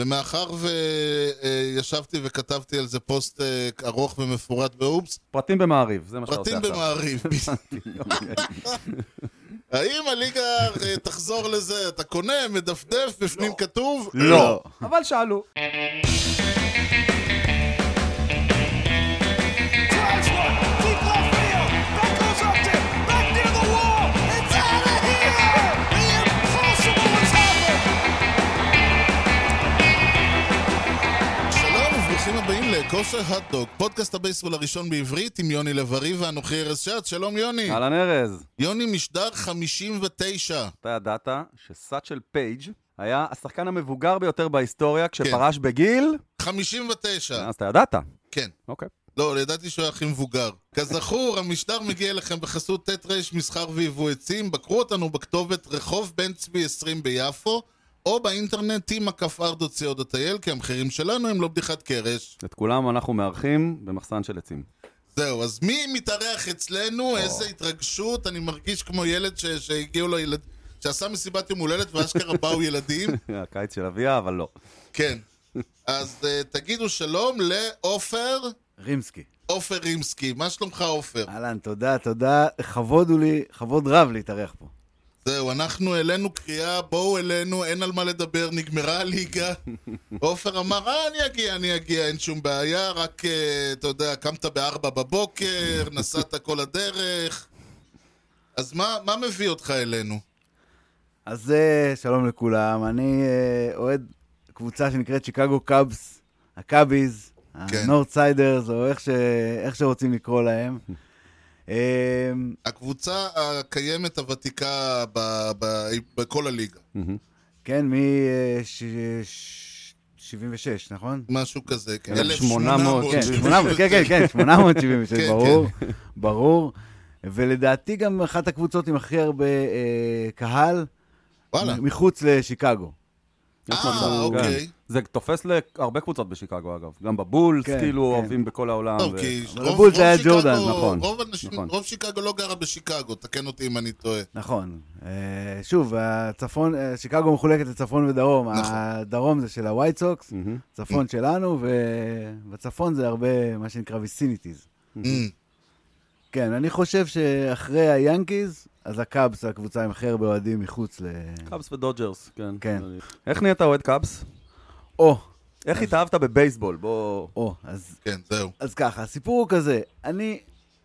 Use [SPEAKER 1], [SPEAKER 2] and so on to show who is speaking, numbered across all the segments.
[SPEAKER 1] ומאחר וישבתי וכתבתי על זה פוסט אה, ארוך ומפורט באופס,
[SPEAKER 2] פרטים במעריב, זה מה שאתה עושה
[SPEAKER 1] פרטים
[SPEAKER 2] עכשיו.
[SPEAKER 1] במעריב.
[SPEAKER 2] הבנתי, אוקיי.
[SPEAKER 1] האם הליגה אה, תחזור לזה? אתה קונה, מדפדף, בפנים כתוב?
[SPEAKER 2] לא. אבל שאלו.
[SPEAKER 3] Drives one, deep left field. That goes up to, back near the wall. It's out of here. The impossible has happened.
[SPEAKER 1] שלום וברוכים הבאים לכושר הטדוג, פודקאסט הבייסבול הראשון בעברית עם יוני לב-ארי ואנוכי ארז שץ. שלום יוני.
[SPEAKER 2] אהלן ארז,
[SPEAKER 1] יוני משדר 59.
[SPEAKER 2] אתה ידעת שסאצ'ל פייג' היה השחקן המבוגר ביותר בהיסטוריה כשפרש בגיל?
[SPEAKER 1] 59,
[SPEAKER 2] אז אתה ידעת.
[SPEAKER 1] כן.
[SPEAKER 2] אוקיי.
[SPEAKER 1] לא, ידעתי שהוא היה הכי מבוגר. כזכור, המשדר מגיע אליכם בחסות ט' ר' מסחר ויבוא עצים. בקרו אותנו בכתובת רחוב בן צבי 20 ביפו, או באינטרנט t.r.co.il, כי המחירים שלנו הם לא בדיחת קרש.
[SPEAKER 2] את כולם אנחנו מארחים במחסן של עצים.
[SPEAKER 1] זהו, אז מי מתארח אצלנו? איזה התרגשות, אני מרגיש כמו ילד ש- שהגיעו לו ילד... שעשה מסיבת יום הולדת ואשכרה באו ילדים.
[SPEAKER 2] הקיץ של אביה, אבל לא.
[SPEAKER 1] כן. אז אה, תגידו שלום לעופר,
[SPEAKER 4] רימסקי.
[SPEAKER 1] עופר רימסקי. מה שלומך עופר?
[SPEAKER 4] אהלן, תודה, תודה. כבוד הוא לי, כבוד רב להתארח פה.
[SPEAKER 1] זהו, אנחנו העלינו קריאה, בואו אלינו, אין על מה לדבר, נגמרה הליגה. עופר אמר, אה, אני אגיע, אני אגיע, אין שום בעיה, רק, אה, אתה יודע, קמת בארבע בבוקר, נסעת כל הדרך. אז מה, מה מביא אותך אלינו?
[SPEAKER 4] אז אה, שלום לכולם, אני אה, אוהד קבוצה שנקראת שיקגו קאבס, הקאביז, הנורד סיידרס, או איך, ש... איך שרוצים לקרוא להם. אה,
[SPEAKER 1] הקבוצה הקיימת הוותיקה ב, ב, בכל הליגה,
[SPEAKER 4] כן, מ-76, נכון?
[SPEAKER 1] משהו כזה. כן,
[SPEAKER 2] 1800,
[SPEAKER 4] כן, 800, כן, כן, כן, 876,
[SPEAKER 1] כן,
[SPEAKER 4] ברור, ברור. ולדעתי גם אחת הקבוצות עם הכי הרבה אה, קהל,
[SPEAKER 1] וואלה,
[SPEAKER 4] מחוץ לשיקגו.
[SPEAKER 2] יש
[SPEAKER 1] אה,
[SPEAKER 2] מצב,
[SPEAKER 1] אוקיי.
[SPEAKER 2] כן. זה תופס להרבה קבוצות בשיקגו, אגב. גם בבולס,
[SPEAKER 4] כן,
[SPEAKER 2] כאילו,
[SPEAKER 4] כן.
[SPEAKER 2] אוהבים בכל העולם.
[SPEAKER 1] טוב,
[SPEAKER 2] ו-
[SPEAKER 1] אוקיי, כי
[SPEAKER 4] אבל
[SPEAKER 1] רוב-
[SPEAKER 4] הבולס
[SPEAKER 1] רוב
[SPEAKER 4] היה
[SPEAKER 1] שיקגו-
[SPEAKER 4] ג'ורדן,
[SPEAKER 2] נכון,
[SPEAKER 1] רוב אנשים-
[SPEAKER 2] נכון.
[SPEAKER 1] רוב שיקגו לא גרה בשיקגו, תקן אותי אם אני טועה.
[SPEAKER 4] נכון. אה, שוב, הצפון, אה, שיקגו מחולקת לצפון ודרום.
[SPEAKER 1] נכון. Mm.
[SPEAKER 4] הדרום זה של הווייט סוקס,
[SPEAKER 2] מהמם.
[SPEAKER 4] צפון שלנו, ובצפון זה הרבה מה שנקרא ויסיניטיז.
[SPEAKER 1] אמ.
[SPEAKER 4] כן, אני חושב שאחרי היאנקיז, אז הקאבס, הקבוצה עם הכי הרבה אוהדים מחוץ ל...
[SPEAKER 2] קאבס ודודג'רס, כן.
[SPEAKER 4] כן. אה.
[SPEAKER 2] איך נהיית אוהד קאבס?
[SPEAKER 4] או,
[SPEAKER 2] איך התאהבת בבייסבול? בוא...
[SPEAKER 4] או, אז
[SPEAKER 1] כן, זהו.
[SPEAKER 4] אז ככה, הסיפור הוא כזה, אני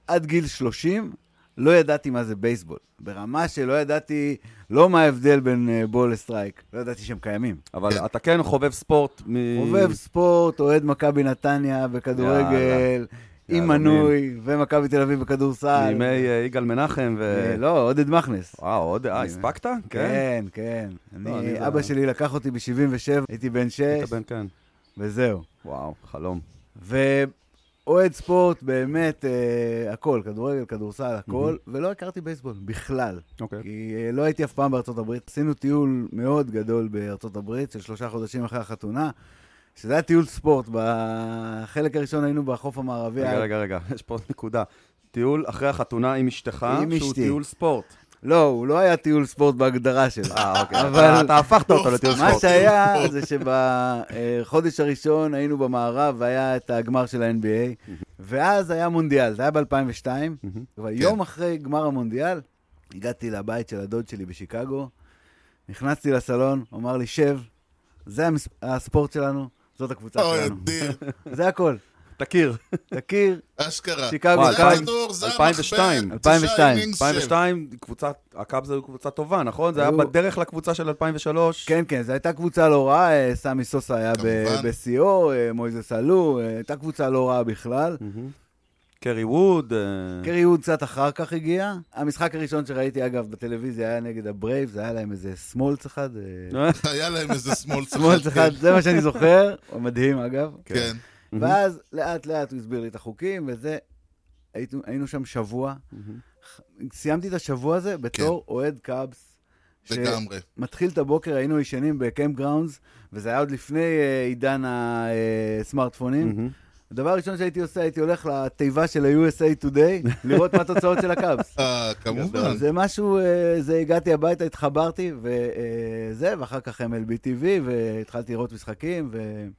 [SPEAKER 4] עד גיל 30 לא ידעתי מה זה בייסבול. ברמה שלא ידעתי לא מה ההבדל בין אה, בול לסטרייק, לא ידעתי שהם קיימים.
[SPEAKER 2] אבל אתה כן חובב ספורט מ...
[SPEAKER 4] אה. חובב ספורט, אוהד מכבי נתניה בכדורגל,
[SPEAKER 2] יאללה.
[SPEAKER 4] עם
[SPEAKER 2] יאללה,
[SPEAKER 4] מנוי, ומכבי תל אביב בכדורסל.
[SPEAKER 2] מימי אה, יגאל מנחם ו...
[SPEAKER 4] אה, לא, עודד מכנס.
[SPEAKER 2] וואו, עוד... אה, הספקת? כן.
[SPEAKER 4] כן, כן.
[SPEAKER 2] לא, אני
[SPEAKER 4] אני-
[SPEAKER 2] זה-
[SPEAKER 4] אבא שלי לקח אותי ב-77, הייתי בן 6,
[SPEAKER 2] היית בן, כן.
[SPEAKER 4] וזהו.
[SPEAKER 2] וואו, חלום.
[SPEAKER 4] ואוהד ספורט, באמת, אה, הכל, כדורגל, כדורסל, הכל, ולא הכרתי בייסבול בכלל.
[SPEAKER 2] אוקיי.
[SPEAKER 4] כי אה, לא הייתי אף פעם בארצות הברית. עשינו טיול מאוד גדול בארצות הברית, של שלושה חודשים אחרי החתונה, שזה היה טיול ספורט. בחלק הראשון היינו בחוף המערבי.
[SPEAKER 2] רגע,
[SPEAKER 4] היה-
[SPEAKER 2] רגע, רגע, יש פה עוד נקודה. טיול אחרי החתונה עם אשתך,
[SPEAKER 4] עם
[SPEAKER 2] שהוא
[SPEAKER 4] אשתי.
[SPEAKER 2] טיול ספורט.
[SPEAKER 4] לא, הוא לא היה טיול ספורט בהגדרה שלו.
[SPEAKER 2] אה, אוקיי.
[SPEAKER 4] אבל-
[SPEAKER 2] אתה- אתה הפכת אותו לטיול
[SPEAKER 4] מה
[SPEAKER 2] ספורט.
[SPEAKER 4] שהיה זה שבחודש הראשון היינו במערב והיה את הגמר של ה-NBA, ואז היה מונדיאל, זה היה ב-2002,
[SPEAKER 2] כן.
[SPEAKER 4] ויום אחרי גמר המונדיאל, הגעתי לבית של הדוד שלי בשיקגו, נכנסתי לסלון, הוא אמר לי, שב, זה המס- הספורט שלנו, זאת הקבוצה
[SPEAKER 1] אוי,
[SPEAKER 4] שלנו.
[SPEAKER 1] אדיר,
[SPEAKER 4] זה הכל.
[SPEAKER 2] תכיר.
[SPEAKER 4] תכיר,
[SPEAKER 1] אשכרה.
[SPEAKER 4] שיקגו,
[SPEAKER 2] וואי,
[SPEAKER 1] זה
[SPEAKER 4] קאבס.
[SPEAKER 2] אלפיים-
[SPEAKER 1] הכדור, זה
[SPEAKER 2] 2002,
[SPEAKER 1] המחבט,
[SPEAKER 4] 2002,
[SPEAKER 1] תשעה innings,
[SPEAKER 2] 2002, קבוצת, הקאבס היו קבוצה טובה, נכון? זה היה
[SPEAKER 4] היו-
[SPEAKER 2] בדרך לקבוצה של 2003.
[SPEAKER 4] כן, כן, זו הייתה קבוצה לא רעה, אה, סמי סוסה היה ב-
[SPEAKER 1] כמובן.
[SPEAKER 4] בשיאו, אה, מויזס עלו, אה, הייתה קבוצה לא רעה בכלל.
[SPEAKER 2] קרי ווד. אה,
[SPEAKER 4] קרי ווד קצת אחר כך הגיע. המשחק הראשון שראיתי, אגב, בטלוויזיה היה נגד הברייבס, היה להם איזה סמולץ אחד. אה,
[SPEAKER 1] שם. היה להם איזה שמאל צחק.
[SPEAKER 4] סמולץ אחד, זה מה שאני זוכר, הוא מדהים אגב.
[SPEAKER 1] כן.
[SPEAKER 4] ואז לאט לאט הוא הסביר לי את החוקים וזה. היינו, היינו שם שבוע. סיימתי את השבוע הזה בתור אוהד קאבס.
[SPEAKER 1] כן. לגמרי.
[SPEAKER 4] שמתחיל את הבוקר, היינו ישנים בקמפ גראונדס, וזה היה עוד לפני אה, עידן הסמארטפונים. הדבר הראשון שהייתי עושה, הייתי הולך לתיבה של ה-USA Today, לראות מה התוצאות של הקאבס.
[SPEAKER 1] אה, כמובן.
[SPEAKER 4] זה משהו, אה, זה הגעתי הביתה, התחברתי, וזה, ואחר כך MLB TV, והתחלתי לראות משחקים,
[SPEAKER 2] ו-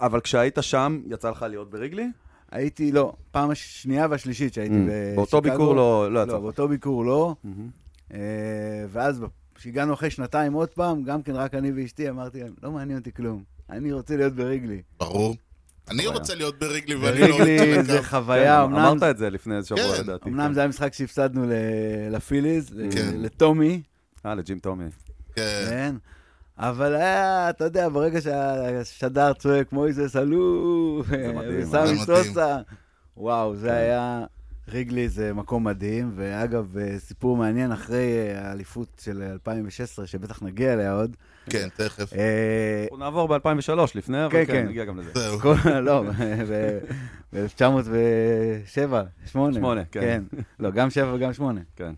[SPEAKER 2] אבל כשהיית שם, יצא לך להיות בריגלי?
[SPEAKER 4] והייתי, לא, פעם השנייה והשלישית שהייתי
[SPEAKER 2] Mm,
[SPEAKER 4] בשיקגו.
[SPEAKER 2] באותו ביקור לא- לא יצא
[SPEAKER 4] לא,
[SPEAKER 2] לך.
[SPEAKER 4] באותו ביקור לא.
[SPEAKER 2] כן,
[SPEAKER 4] אה, ואז כשהגענו אחרי שנתיים עוד פעם, גם כן רק אני ואשתי, אמרתי להם, לא מעניין אותי כלום, אני רוצה להיות בריגלי.
[SPEAKER 1] ברור. אני רוצה להיות בריגלי ואני לא רוצה
[SPEAKER 4] בריגלי זה
[SPEAKER 1] לקו.
[SPEAKER 2] כן,
[SPEAKER 4] חוויה, אמנם
[SPEAKER 2] אמרת את זה לפני איזה שבוע,
[SPEAKER 1] כן.
[SPEAKER 2] לדעתי.
[SPEAKER 4] אמנם
[SPEAKER 2] כן.
[SPEAKER 4] זה היה משחק שהפסדנו ל- לפיליז, ל-
[SPEAKER 1] כן.
[SPEAKER 4] לטומי,
[SPEAKER 2] אה, לג'ים טומי.
[SPEAKER 1] כן.
[SPEAKER 4] כן. אבל היה, אתה יודע, ברגע שהשדר צועק, מויזס עלו,
[SPEAKER 2] מדהים,
[SPEAKER 1] זה מדהים.
[SPEAKER 4] וסמי
[SPEAKER 1] כן.
[SPEAKER 4] סוסה, וואו, זה היה, ריגלי זה מקום מדהים, ואגב, אה, סיפור מעניין, אחרי אה, האליפות של 2016, שבטח נגיע אליה עוד,
[SPEAKER 1] כן, תכף.
[SPEAKER 4] אה,
[SPEAKER 2] אנחנו נעבור ב-2003 לפני, אבל
[SPEAKER 4] כן,
[SPEAKER 2] כן,
[SPEAKER 4] כן.
[SPEAKER 2] נגיע גם לזה.
[SPEAKER 1] זהו.
[SPEAKER 4] כל, לא, ב-1907, 8.
[SPEAKER 2] שמונה, כן.
[SPEAKER 4] לא, גם 7 וגם 8.
[SPEAKER 2] כן.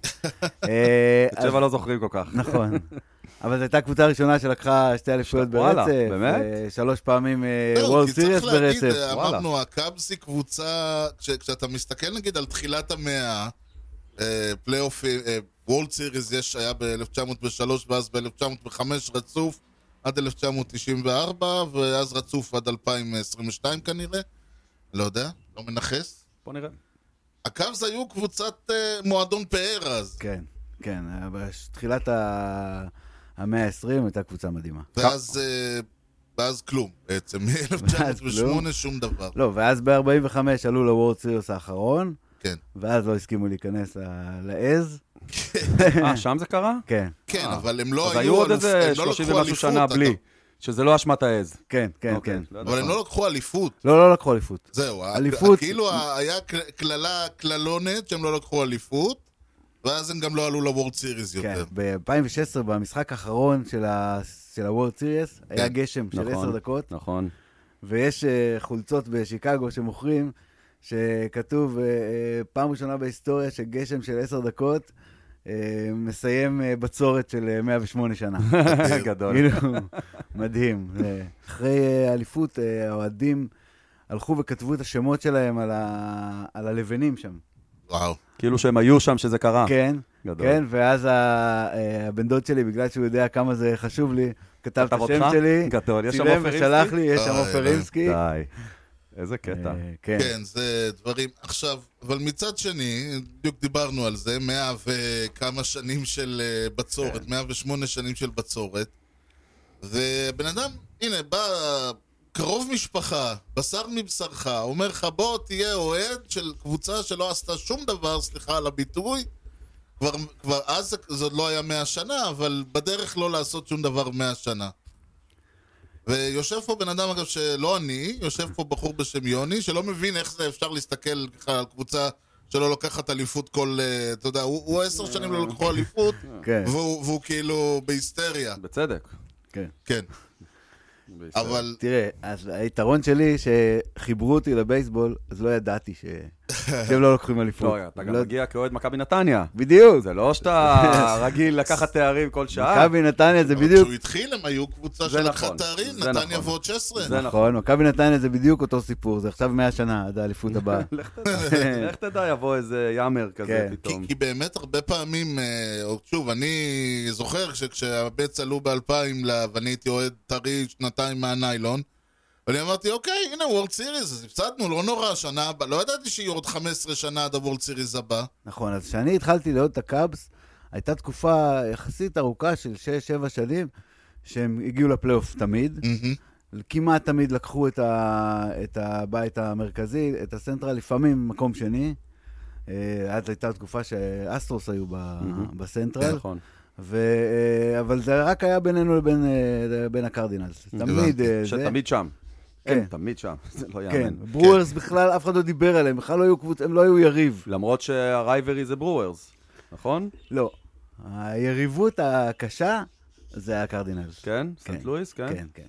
[SPEAKER 4] אה,
[SPEAKER 2] את
[SPEAKER 4] אז-
[SPEAKER 2] שבע לא זוכרים כל כך.
[SPEAKER 4] נכון. אבל זו הייתה הקבוצה הראשונה שלקחה שתי אליפויות
[SPEAKER 2] וואלה,
[SPEAKER 4] ברצף.
[SPEAKER 2] באמת?
[SPEAKER 4] אה, שלוש פעמים
[SPEAKER 1] זהו,
[SPEAKER 4] וולד
[SPEAKER 1] כי צריך
[SPEAKER 4] סיריוס
[SPEAKER 1] להגיד,
[SPEAKER 4] ברצף.
[SPEAKER 1] אה,
[SPEAKER 2] וואלה.
[SPEAKER 1] אמרנו, הקאבס היא קבוצה, ש- כשאתה מסתכל נגיד על תחילת המאה, אה, פלייאופים, אה, וולד סיריס יש, היה ב-1903 ואז ב-1905 רצוף עד 1994 ואז רצוף עד 2022 כנראה, לא יודע, לא מנכס.
[SPEAKER 2] בוא נראה.
[SPEAKER 1] הקאבס היו קבוצת אה, מועדון פאר אז,
[SPEAKER 4] כן, כן. אה, בתחילת ה- המאה ה-20 הייתה קבוצה מדהימה.
[SPEAKER 1] ואז, אה, ואז כלום בעצם,
[SPEAKER 4] כלום?
[SPEAKER 1] מ-1908 שום דבר,
[SPEAKER 4] לא, ואז ב-45 עלו לוורד סיריוס האחרון,
[SPEAKER 1] כן.
[SPEAKER 4] ואז לא הסכימו להיכנס ל- לעז.
[SPEAKER 2] אה, שם זה קרה?
[SPEAKER 4] כן,
[SPEAKER 1] כן,
[SPEAKER 2] אה.
[SPEAKER 1] אבל הם לא היו...
[SPEAKER 2] אז היו עוד
[SPEAKER 1] אלופ- הם
[SPEAKER 2] איזה
[SPEAKER 1] לא
[SPEAKER 2] 30
[SPEAKER 1] לקחו
[SPEAKER 2] ומשהו שנה
[SPEAKER 1] אליפות,
[SPEAKER 2] בלי,
[SPEAKER 1] אגב.
[SPEAKER 2] שזה לא אשמת העז.
[SPEAKER 4] כן, כן,
[SPEAKER 2] אוקיי,
[SPEAKER 4] כן.
[SPEAKER 2] לא יודע
[SPEAKER 1] אבל הם
[SPEAKER 2] כמה.
[SPEAKER 1] לא לקחו אליפות.
[SPEAKER 4] לא, לא לקחו אליפות.
[SPEAKER 1] זהו, ה-
[SPEAKER 4] אליפות.
[SPEAKER 1] כאילו ה- היה ק- קללה, קללונת, שהם לא לקחו אליפות, ואז הם גם לא עלו לוורד סיריס
[SPEAKER 4] כן,
[SPEAKER 1] יותר.
[SPEAKER 4] ב-2016, במשחק האחרון של ה- של הוורד סיריוס, היה
[SPEAKER 1] כן.
[SPEAKER 4] גשם של
[SPEAKER 2] נכון,
[SPEAKER 4] 10 דקות.
[SPEAKER 2] נכון.
[SPEAKER 4] ויש אה, חולצות בשיקגו שמוכרים, שכתוב, אה, אה, פעם ראשונה בהיסטוריה שגשם של עשר דקות אה, מסיים אה, בצורת של אה, 108 שנה.
[SPEAKER 2] גדול.
[SPEAKER 4] כאילו, מדהים. זה- אחרי אה, האליפות, אה, האוהדים הלכו וכתבו את השמות שלהם על ה- על הלבנים שם.
[SPEAKER 1] וואו.
[SPEAKER 2] כאילו שהם היו שם שזה קרה.
[SPEAKER 4] כן,
[SPEAKER 2] אה, גדול.
[SPEAKER 4] כן, ואז ה- אה, הבן דוד שלי, בגלל שהוא יודע כמה זה חשוב לי, כתב את
[SPEAKER 2] כתב
[SPEAKER 4] השם
[SPEAKER 2] אותך?
[SPEAKER 4] שלי,
[SPEAKER 2] גדול. יש שם
[SPEAKER 4] צילם
[SPEAKER 2] עופר
[SPEAKER 4] ושלח
[SPEAKER 2] ריבסקי?
[SPEAKER 4] לי, יש שם
[SPEAKER 1] אוי,
[SPEAKER 4] עופר
[SPEAKER 1] אלוהים.
[SPEAKER 4] רימסקי.
[SPEAKER 2] די. איזה קטע.
[SPEAKER 4] אה, כן.
[SPEAKER 1] כן, זה דברים... עכשיו, אבל מצד שני, בדיוק דיברנו על זה, מאה וכמה שנים של אה,
[SPEAKER 4] כן.
[SPEAKER 1] בצורת, 108 שנים של בצורת, ובן אדם, הנה, בא קרוב משפחה, בשר מבשרך, אומר לך, בוא תהיה אוהד של קבוצה שלא עשתה שום דבר, סליחה על הביטוי, כבר, כבר אז זה- זה עוד לא היה 100 שנה, אבל בדרך לא לעשות שום דבר 100 שנה. ויושב פה בן אדם, אגב, שלא אני, יושב פה בחור בשם יוני, שלא מבין איך זה אפשר להסתכל ככה על קבוצה שלא לוקחת אליפות כל... אה, אתה יודע, הוא הוא עשר שנים לא לקחו אליפות,
[SPEAKER 4] כן,
[SPEAKER 1] והוא והוא כאילו בהיסטריה,
[SPEAKER 2] בצדק.
[SPEAKER 4] כן.
[SPEAKER 1] כן. אבל
[SPEAKER 4] תראה, אז היתרון שלי שחיברו אותי לבייסבול, אז לא ידעתי ש... שהם לא לוקחים אליפות.
[SPEAKER 2] לא, אתה גם
[SPEAKER 4] לא-
[SPEAKER 2] מגיע כאוהד מכבי נתניה.
[SPEAKER 4] בדיוק.
[SPEAKER 2] זה לא שאתה רגיל לקחת תארים כל שעה.
[SPEAKER 4] מכבי נתניה זה
[SPEAKER 1] אבל
[SPEAKER 4] בדיוק...
[SPEAKER 1] כשהוא התחיל הם היו קבוצה
[SPEAKER 2] זה
[SPEAKER 1] שלקחה
[SPEAKER 2] נכון,
[SPEAKER 1] תארים,
[SPEAKER 2] זה
[SPEAKER 1] נתניה
[SPEAKER 2] נכון.
[SPEAKER 1] ועוד 16.
[SPEAKER 2] זה נכון.
[SPEAKER 4] נכון, מכבי נתניה זה בדיוק אותו סיפור, זה עכשיו 100 שנה עד האליפות הבאה.
[SPEAKER 2] לך תדע, לך תדע, יבוא איזה יאמר כזה
[SPEAKER 4] כן.
[SPEAKER 2] פתאום.
[SPEAKER 1] כי, כי באמת הרבה פעמים, אה, או- שוב, אני זוכר שכשהבץ עלו ב-2000 ואני הייתי אוהד טרי שנתיים מהניילון, ואני אמרתי, אוקיי, הנה וורד סיריס, אז הפסדנו, לא נורא, שנה הבאה, לא ידעתי שיהיו עוד 15 שנה עד הוורד סיריס הבא.
[SPEAKER 4] נכון, אז כשאני התחלתי לאהוד את הקאבס, הייתה תקופה יחסית ארוכה של 6-7 שנים, שהם הגיעו לפלייאוף תמיד.
[SPEAKER 1] מהמם.
[SPEAKER 4] כמעט תמיד לקחו את, ה, את הבית המרכזי, את הסנטרל, לפעמים מקום שני. אה, אז הייתה תקופה שאסטרוס היו ב, בסנטרל,
[SPEAKER 2] נכון.
[SPEAKER 4] ו, אה, אבל זה רק היה בינינו לבין אה, בין הקרדינלס. תמיד אה, זה...
[SPEAKER 2] שתמיד שם.
[SPEAKER 4] כן.
[SPEAKER 2] כן, תמיד שם. זה לא
[SPEAKER 4] כן,
[SPEAKER 2] יאמן.
[SPEAKER 4] ברוורס בכלל, אף אחד לא דיבר עליהם, בכלל לא היו קבוצ... הם לא היו יריב.
[SPEAKER 2] למרות שהרייברי זה ברוארס, נכון?
[SPEAKER 4] לא. היריבות הקשה זה הקרדינלס.
[SPEAKER 2] כן? סנט לואיס, כן?
[SPEAKER 4] כן, כן.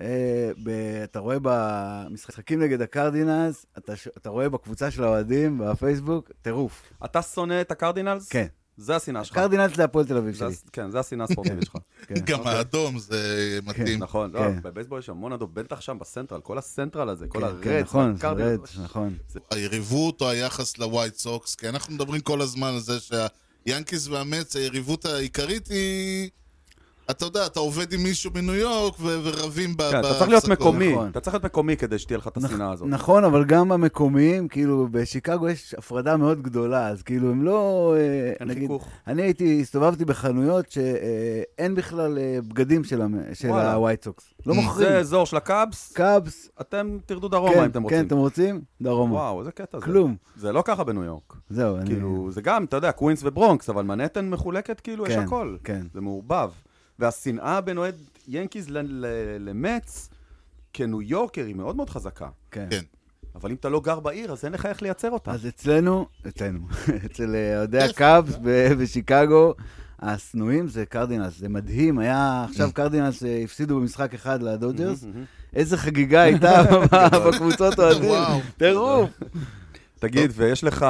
[SPEAKER 4] אה, ב- אתה רואה במשחקים נגד הקרדינלס, אתה ש- אתה רואה בקבוצה של האוהדים, בפייסבוק, טירוף.
[SPEAKER 2] אתה שונא את הקרדינלס?
[SPEAKER 4] כן.
[SPEAKER 2] זה השנאה שלך.
[SPEAKER 4] קרדינלס זה הפועל תל אביב
[SPEAKER 2] נכון. זה
[SPEAKER 4] שלי.
[SPEAKER 2] הס- כן, זה השנאה הספורטיבית שלך.
[SPEAKER 4] כן.
[SPEAKER 1] גם האדום זה מתאים.
[SPEAKER 2] אוקיי. נכון, לא,
[SPEAKER 4] כן.
[SPEAKER 2] בבייסבול יש המון אדום, בטח שם בסנטרל, כל הסנטרל הזה, כל
[SPEAKER 4] כן,
[SPEAKER 2] הרדס.
[SPEAKER 4] כן, נכון, זה
[SPEAKER 2] והקרדינלס.
[SPEAKER 4] רד, נכון.
[SPEAKER 1] היריבות או היחס לווייט סוקס, כי אנחנו מדברים כל הזמן על זה שהיאנקיס והמץ, היריבות העיקרית היא... אתה יודע, אתה עובד עם מישהו בניו יורק ו- ורבים ב...
[SPEAKER 2] כן, אתה צריך להיות
[SPEAKER 1] בהפסקות.
[SPEAKER 2] מקומי,
[SPEAKER 4] נכון.
[SPEAKER 2] אתה צריך להיות מקומי כדי שתהיה לך את השנאה הזאת.
[SPEAKER 4] נכון, אבל גם המקומיים, כאילו, בשיקגו יש הפרדה מאוד גדולה, אז כאילו, הם לא... אה,
[SPEAKER 2] אין
[SPEAKER 4] נגיד,
[SPEAKER 2] חיכוך.
[SPEAKER 4] אני הייתי, הסתובבתי בחנויות שאין בכלל אה, בגדים של המ- של
[SPEAKER 2] וואלה.
[SPEAKER 4] הווייט סוקס. לא מוכרים.
[SPEAKER 2] זה אזור של הקאבס,
[SPEAKER 4] קאבס,
[SPEAKER 2] אתם תרדו דרומה אם
[SPEAKER 4] כן,
[SPEAKER 2] אתם
[SPEAKER 4] כן,
[SPEAKER 2] רוצים.
[SPEAKER 4] אתם רוצים? דרומה.
[SPEAKER 2] וואו, איזה קטע זה.
[SPEAKER 4] כלום. אה.
[SPEAKER 2] זה לא ככה בניו יורק.
[SPEAKER 4] זהו, אני...
[SPEAKER 2] כאילו, זה גם, אתה יודע, קווינס וברונקס, אבל מנהטן מחולקת, כאילו, יש
[SPEAKER 4] כן,
[SPEAKER 2] הכל.
[SPEAKER 4] כן.
[SPEAKER 2] זה מעורבב. והשנאה בין אוהד ינקיז ל- ל- למץ, כניו יורקר, היא מאוד מאוד חזקה.
[SPEAKER 4] כן.
[SPEAKER 1] כן.
[SPEAKER 2] אבל אם אתה לא גר בעיר, אז אין לך איך לייצר אותה.
[SPEAKER 4] אז אצלנו, אצלנו, אצל אה, אוהדי הקאבס ב- בשיקגו, השנואים זה קרדינלס, זה מדהים, היה עכשיו
[SPEAKER 2] Mm.
[SPEAKER 4] קרדינלס אה, הפסידו במשחק אחד
[SPEAKER 2] Mm-hmm,
[SPEAKER 4] לדודג'רס, איזה חגיגה הייתה בקבוצות אוהדים,
[SPEAKER 1] וואו.
[SPEAKER 4] טירוף.
[SPEAKER 2] תגיד, ויש לך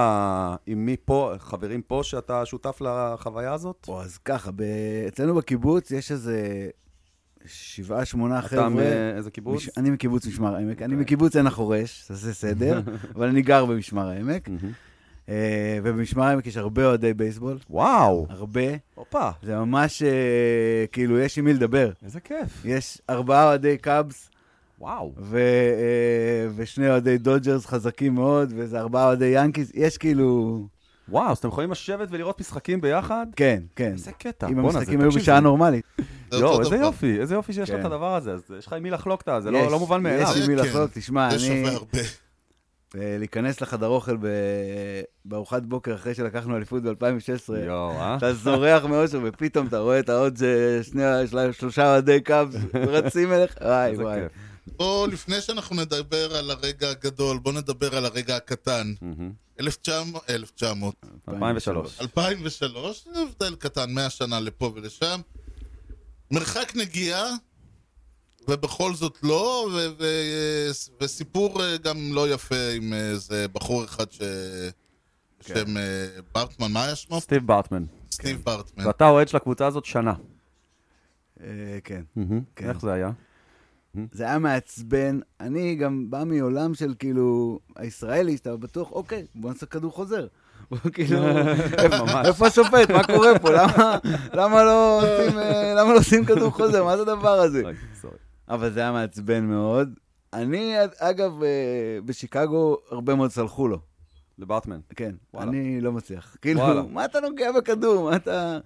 [SPEAKER 2] עם מי פה, חברים פה, שאתה שותף לחוויה הזאת?
[SPEAKER 4] או, אז ככה, ב... אצלנו בקיבוץ יש איזה שבעה, שמונה
[SPEAKER 2] אתה
[SPEAKER 4] חבר'ה.
[SPEAKER 2] מאיזה קיבוץ?
[SPEAKER 4] מש... אני מקיבוץ משמר העמק, אני
[SPEAKER 2] אוקיי.
[SPEAKER 4] מקיבוץ עין החורש, זה סדר, אבל אני גר במשמר העמק, אה, ובמשמר העמק יש הרבה אוהדי בייסבול,
[SPEAKER 2] וואו,
[SPEAKER 4] הרבה.
[SPEAKER 2] הופה,
[SPEAKER 4] זה ממש, אה, כאילו, יש עם מי לדבר.
[SPEAKER 2] איזה כיף.
[SPEAKER 4] יש ארבעה אוהדי קאבס
[SPEAKER 2] וואו.
[SPEAKER 4] ו, אה, ושני אוהדי דודג'רס חזקים מאוד, ואיזה ארבעה אוהדי ינקיס, יש כאילו...
[SPEAKER 2] וואו, אז אתם יכולים לשבת ולראות משחקים ביחד?
[SPEAKER 4] כן, כן.
[SPEAKER 2] איזה קטע.
[SPEAKER 4] אם
[SPEAKER 2] בואנה,
[SPEAKER 4] המשחקים
[SPEAKER 2] זה-
[SPEAKER 4] היו
[SPEAKER 2] תקשיב,
[SPEAKER 4] בשעה
[SPEAKER 2] זה-
[SPEAKER 4] נורמלית.
[SPEAKER 1] זה
[SPEAKER 2] יואו,
[SPEAKER 1] אותו
[SPEAKER 2] איזה
[SPEAKER 1] דבר.
[SPEAKER 2] יופי, איזה יופי שיש לך את
[SPEAKER 4] כן.
[SPEAKER 2] הדבר הזה, אז יש לך עם מי לחלוק את ה... זה
[SPEAKER 4] יש-
[SPEAKER 2] לא לא מובן מאליו.
[SPEAKER 4] יש עם מי
[SPEAKER 1] כן.
[SPEAKER 4] לחלוק, תשמע,
[SPEAKER 1] זה שווה
[SPEAKER 4] אני...
[SPEAKER 1] הרבה.
[SPEAKER 4] אה, להיכנס לחדר אוכל ב- בארוחת בוקר אחרי שלקחנו אליפות ב-2016,
[SPEAKER 2] יואו, אה?
[SPEAKER 4] אתה זורח מאושר, ופתאום אתה רואה את העוד ש- שני- של- שלושה אוהדי קאבס רצים אליך, וואי
[SPEAKER 2] איזה
[SPEAKER 4] וואי.
[SPEAKER 2] כיף.
[SPEAKER 1] בואו, לפני שאנחנו נדבר על הרגע הגדול, בואו נדבר על הרגע הקטן. 1900, 1900,
[SPEAKER 2] 2003.
[SPEAKER 1] 2003, זה הבדל קטן, 100 שנה לפה ולשם. מרחק נגיעה, ובכל זאת לא, ו- ו- וסיפור אה, גם לא יפה עם איזה בחור אחד ש...
[SPEAKER 2] כן.
[SPEAKER 1] בשם אה, ברטמן, מה היה שמו?
[SPEAKER 2] סטיב בארטמן.
[SPEAKER 1] סטיב ברטמן.
[SPEAKER 2] ואתה אוהד של הקבוצה הזאת שנה.
[SPEAKER 4] אה, כן. כן.
[SPEAKER 2] איך זה היה?
[SPEAKER 4] זה היה מעצבן. אני גם בא מעולם של כאילו, הישראלי, שאתה בטוח, אוקיי, בוא נעשה כדור חוזר. בוא, כאילו,
[SPEAKER 2] ממש.
[SPEAKER 4] איפה השופט? מה קורה פה? למה- למה לא עושים, אה, למה לא עושים כדור חוזר? מה זה הדבר הזה?
[SPEAKER 2] רגע, סורי.
[SPEAKER 4] אבל זה היה מעצבן מאוד. אני, אגב, אה, בשיקגו הרבה מאוד סלחו לו.
[SPEAKER 2] לבארטמן.
[SPEAKER 4] כן,
[SPEAKER 2] וואלה.
[SPEAKER 4] אני לא מצליח. כאילו,
[SPEAKER 2] וואלה.
[SPEAKER 4] מה אתה נוגע בכדור? מה אתה...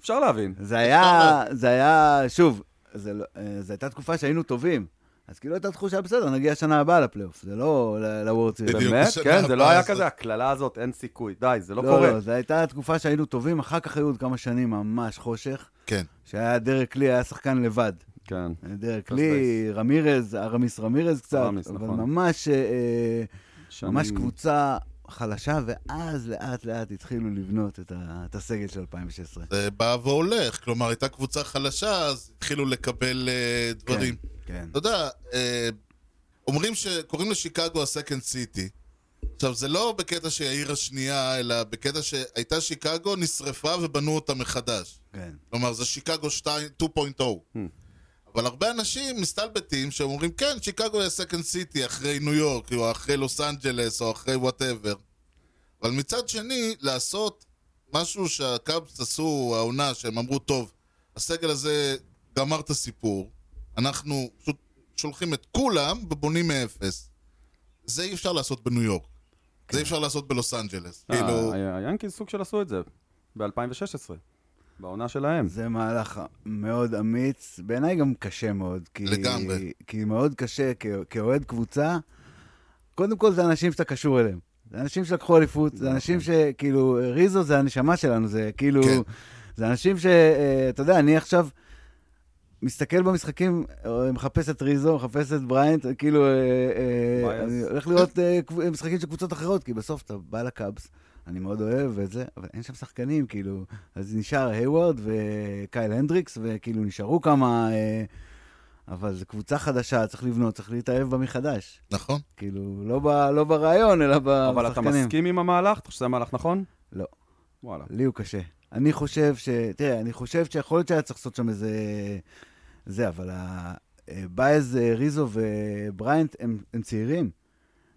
[SPEAKER 2] אפשר להבין.
[SPEAKER 4] זה היה, זה היה, שוב, זה לא- אה, זו הייתה תקופה שהיינו טובים. אז כאילו הייתה תחושה בסדר, נגיע שנה הבאה לפלייאוף, זה לא לוורד סיריס.
[SPEAKER 1] בדיוק.
[SPEAKER 2] באמת?
[SPEAKER 1] השנה
[SPEAKER 2] כן, זה לא
[SPEAKER 1] הבאה
[SPEAKER 2] היה
[SPEAKER 1] הזאת.
[SPEAKER 2] כזה, הקללה הזאת, אין סיכוי. די, זה לא
[SPEAKER 4] לא,
[SPEAKER 2] קורה.
[SPEAKER 4] לא, זו הייתה תקופה שהיינו טובים, אחר כך היו עוד כמה שנים ממש חושך,
[SPEAKER 1] כן.
[SPEAKER 4] שהיה דרק לי, היה שחקן לבד.
[SPEAKER 2] כן.
[SPEAKER 4] דרק
[SPEAKER 2] פלוס
[SPEAKER 4] לי, רמירז, הרמיס רמירז קצת,
[SPEAKER 2] רמיס,
[SPEAKER 4] אבל
[SPEAKER 2] נכון.
[SPEAKER 4] ממש, אה, אה,
[SPEAKER 2] שנים-
[SPEAKER 4] ממש קבוצה חלשה, ואז לאט לאט התחילו לבנות את ה- את הסגל של 2016.
[SPEAKER 1] זה בא והולך, כלומר הייתה קבוצה חלשה, אז התחילו לקבל אה, דברים.
[SPEAKER 4] כן,
[SPEAKER 1] אתה יודע, אה, אומרים שקוראים לשיקגו הסקנד סיטי. עכשיו, זה לא בקטע שהיא העיר השנייה, אלא בקטע שהייתה שיקגו, נשרפה ובנו אותה מחדש.
[SPEAKER 4] כן,
[SPEAKER 1] כלומר, זה שיקגו 2 2.0. oh.
[SPEAKER 2] Hmm.
[SPEAKER 1] אבל הרבה אנשים מסתלבטים שאומרים, כן, שיקגו היא הסקנד סיטי אחרי ניו יורק, או אחרי לוס אנג'לס, או אחרי וואטאבר. אבל מצד שני, לעשות משהו שהקאבס עשו, העונה, שהם אמרו, טוב, הסגל הזה גמר את הסיפור, אנחנו פשוט שולחים את כולם ובונים מאפס. זה אי אפשר לעשות בניו יורק. זה אי אפשר לעשות בלוס אנג'לס.
[SPEAKER 2] כן. אה,
[SPEAKER 1] כאילו,
[SPEAKER 2] ה- היאנקיז סוג של עשו את זה. ב-2016. בעונה שלהם.
[SPEAKER 4] זה מהלך מאוד אמיץ, בעיניי גם קשה מאוד. כי,
[SPEAKER 1] לגמרי.
[SPEAKER 4] כי מאוד קשה, כ- כאוהד קבוצה, קודם כל זה אנשים שאתה קשור אליהם. זה אנשים שלקחו אליפות, זה אנשים שכאילו, ריזו זה הנשמה שלנו, זה כאילו,
[SPEAKER 1] נכון. כן.
[SPEAKER 4] זה אנשים ש... אה, אתה יודע, אני עכשיו מסתכל במשחקים, אה, מחפש את ריזו, מחפש את בריינט, כאילו, אה, אה,
[SPEAKER 2] ביאס.
[SPEAKER 4] אני הולך לראות אה, קב- משחקים של קבוצות אחרות, כי בסוף אתה בא לקאבס, אני מאוד אוהב את זה, אבל אין שם שחקנים, כאילו, אז נשאר היוורד וקייל הנדריקס, וכאילו נשארו כמה... אה, אבל זו קבוצה חדשה, צריך לבנות, צריך להתאהב בה מחדש.
[SPEAKER 1] נכון?
[SPEAKER 4] כאילו, לא, ב, לא ברעיון, אלא במשחקנים.
[SPEAKER 2] אבל אתה מסכים עם המהלך? אתה חושב שזה מהלך נכון?
[SPEAKER 4] לא.
[SPEAKER 2] וואלה.
[SPEAKER 4] לי הוא קשה. אני חושב ש... תראה, אני חושב שיכול להיות שהיה צריך לעשות שם איזה... זה, אבל ה... אה, באז, אה, ריזו ובריינט הם, הם צעירים.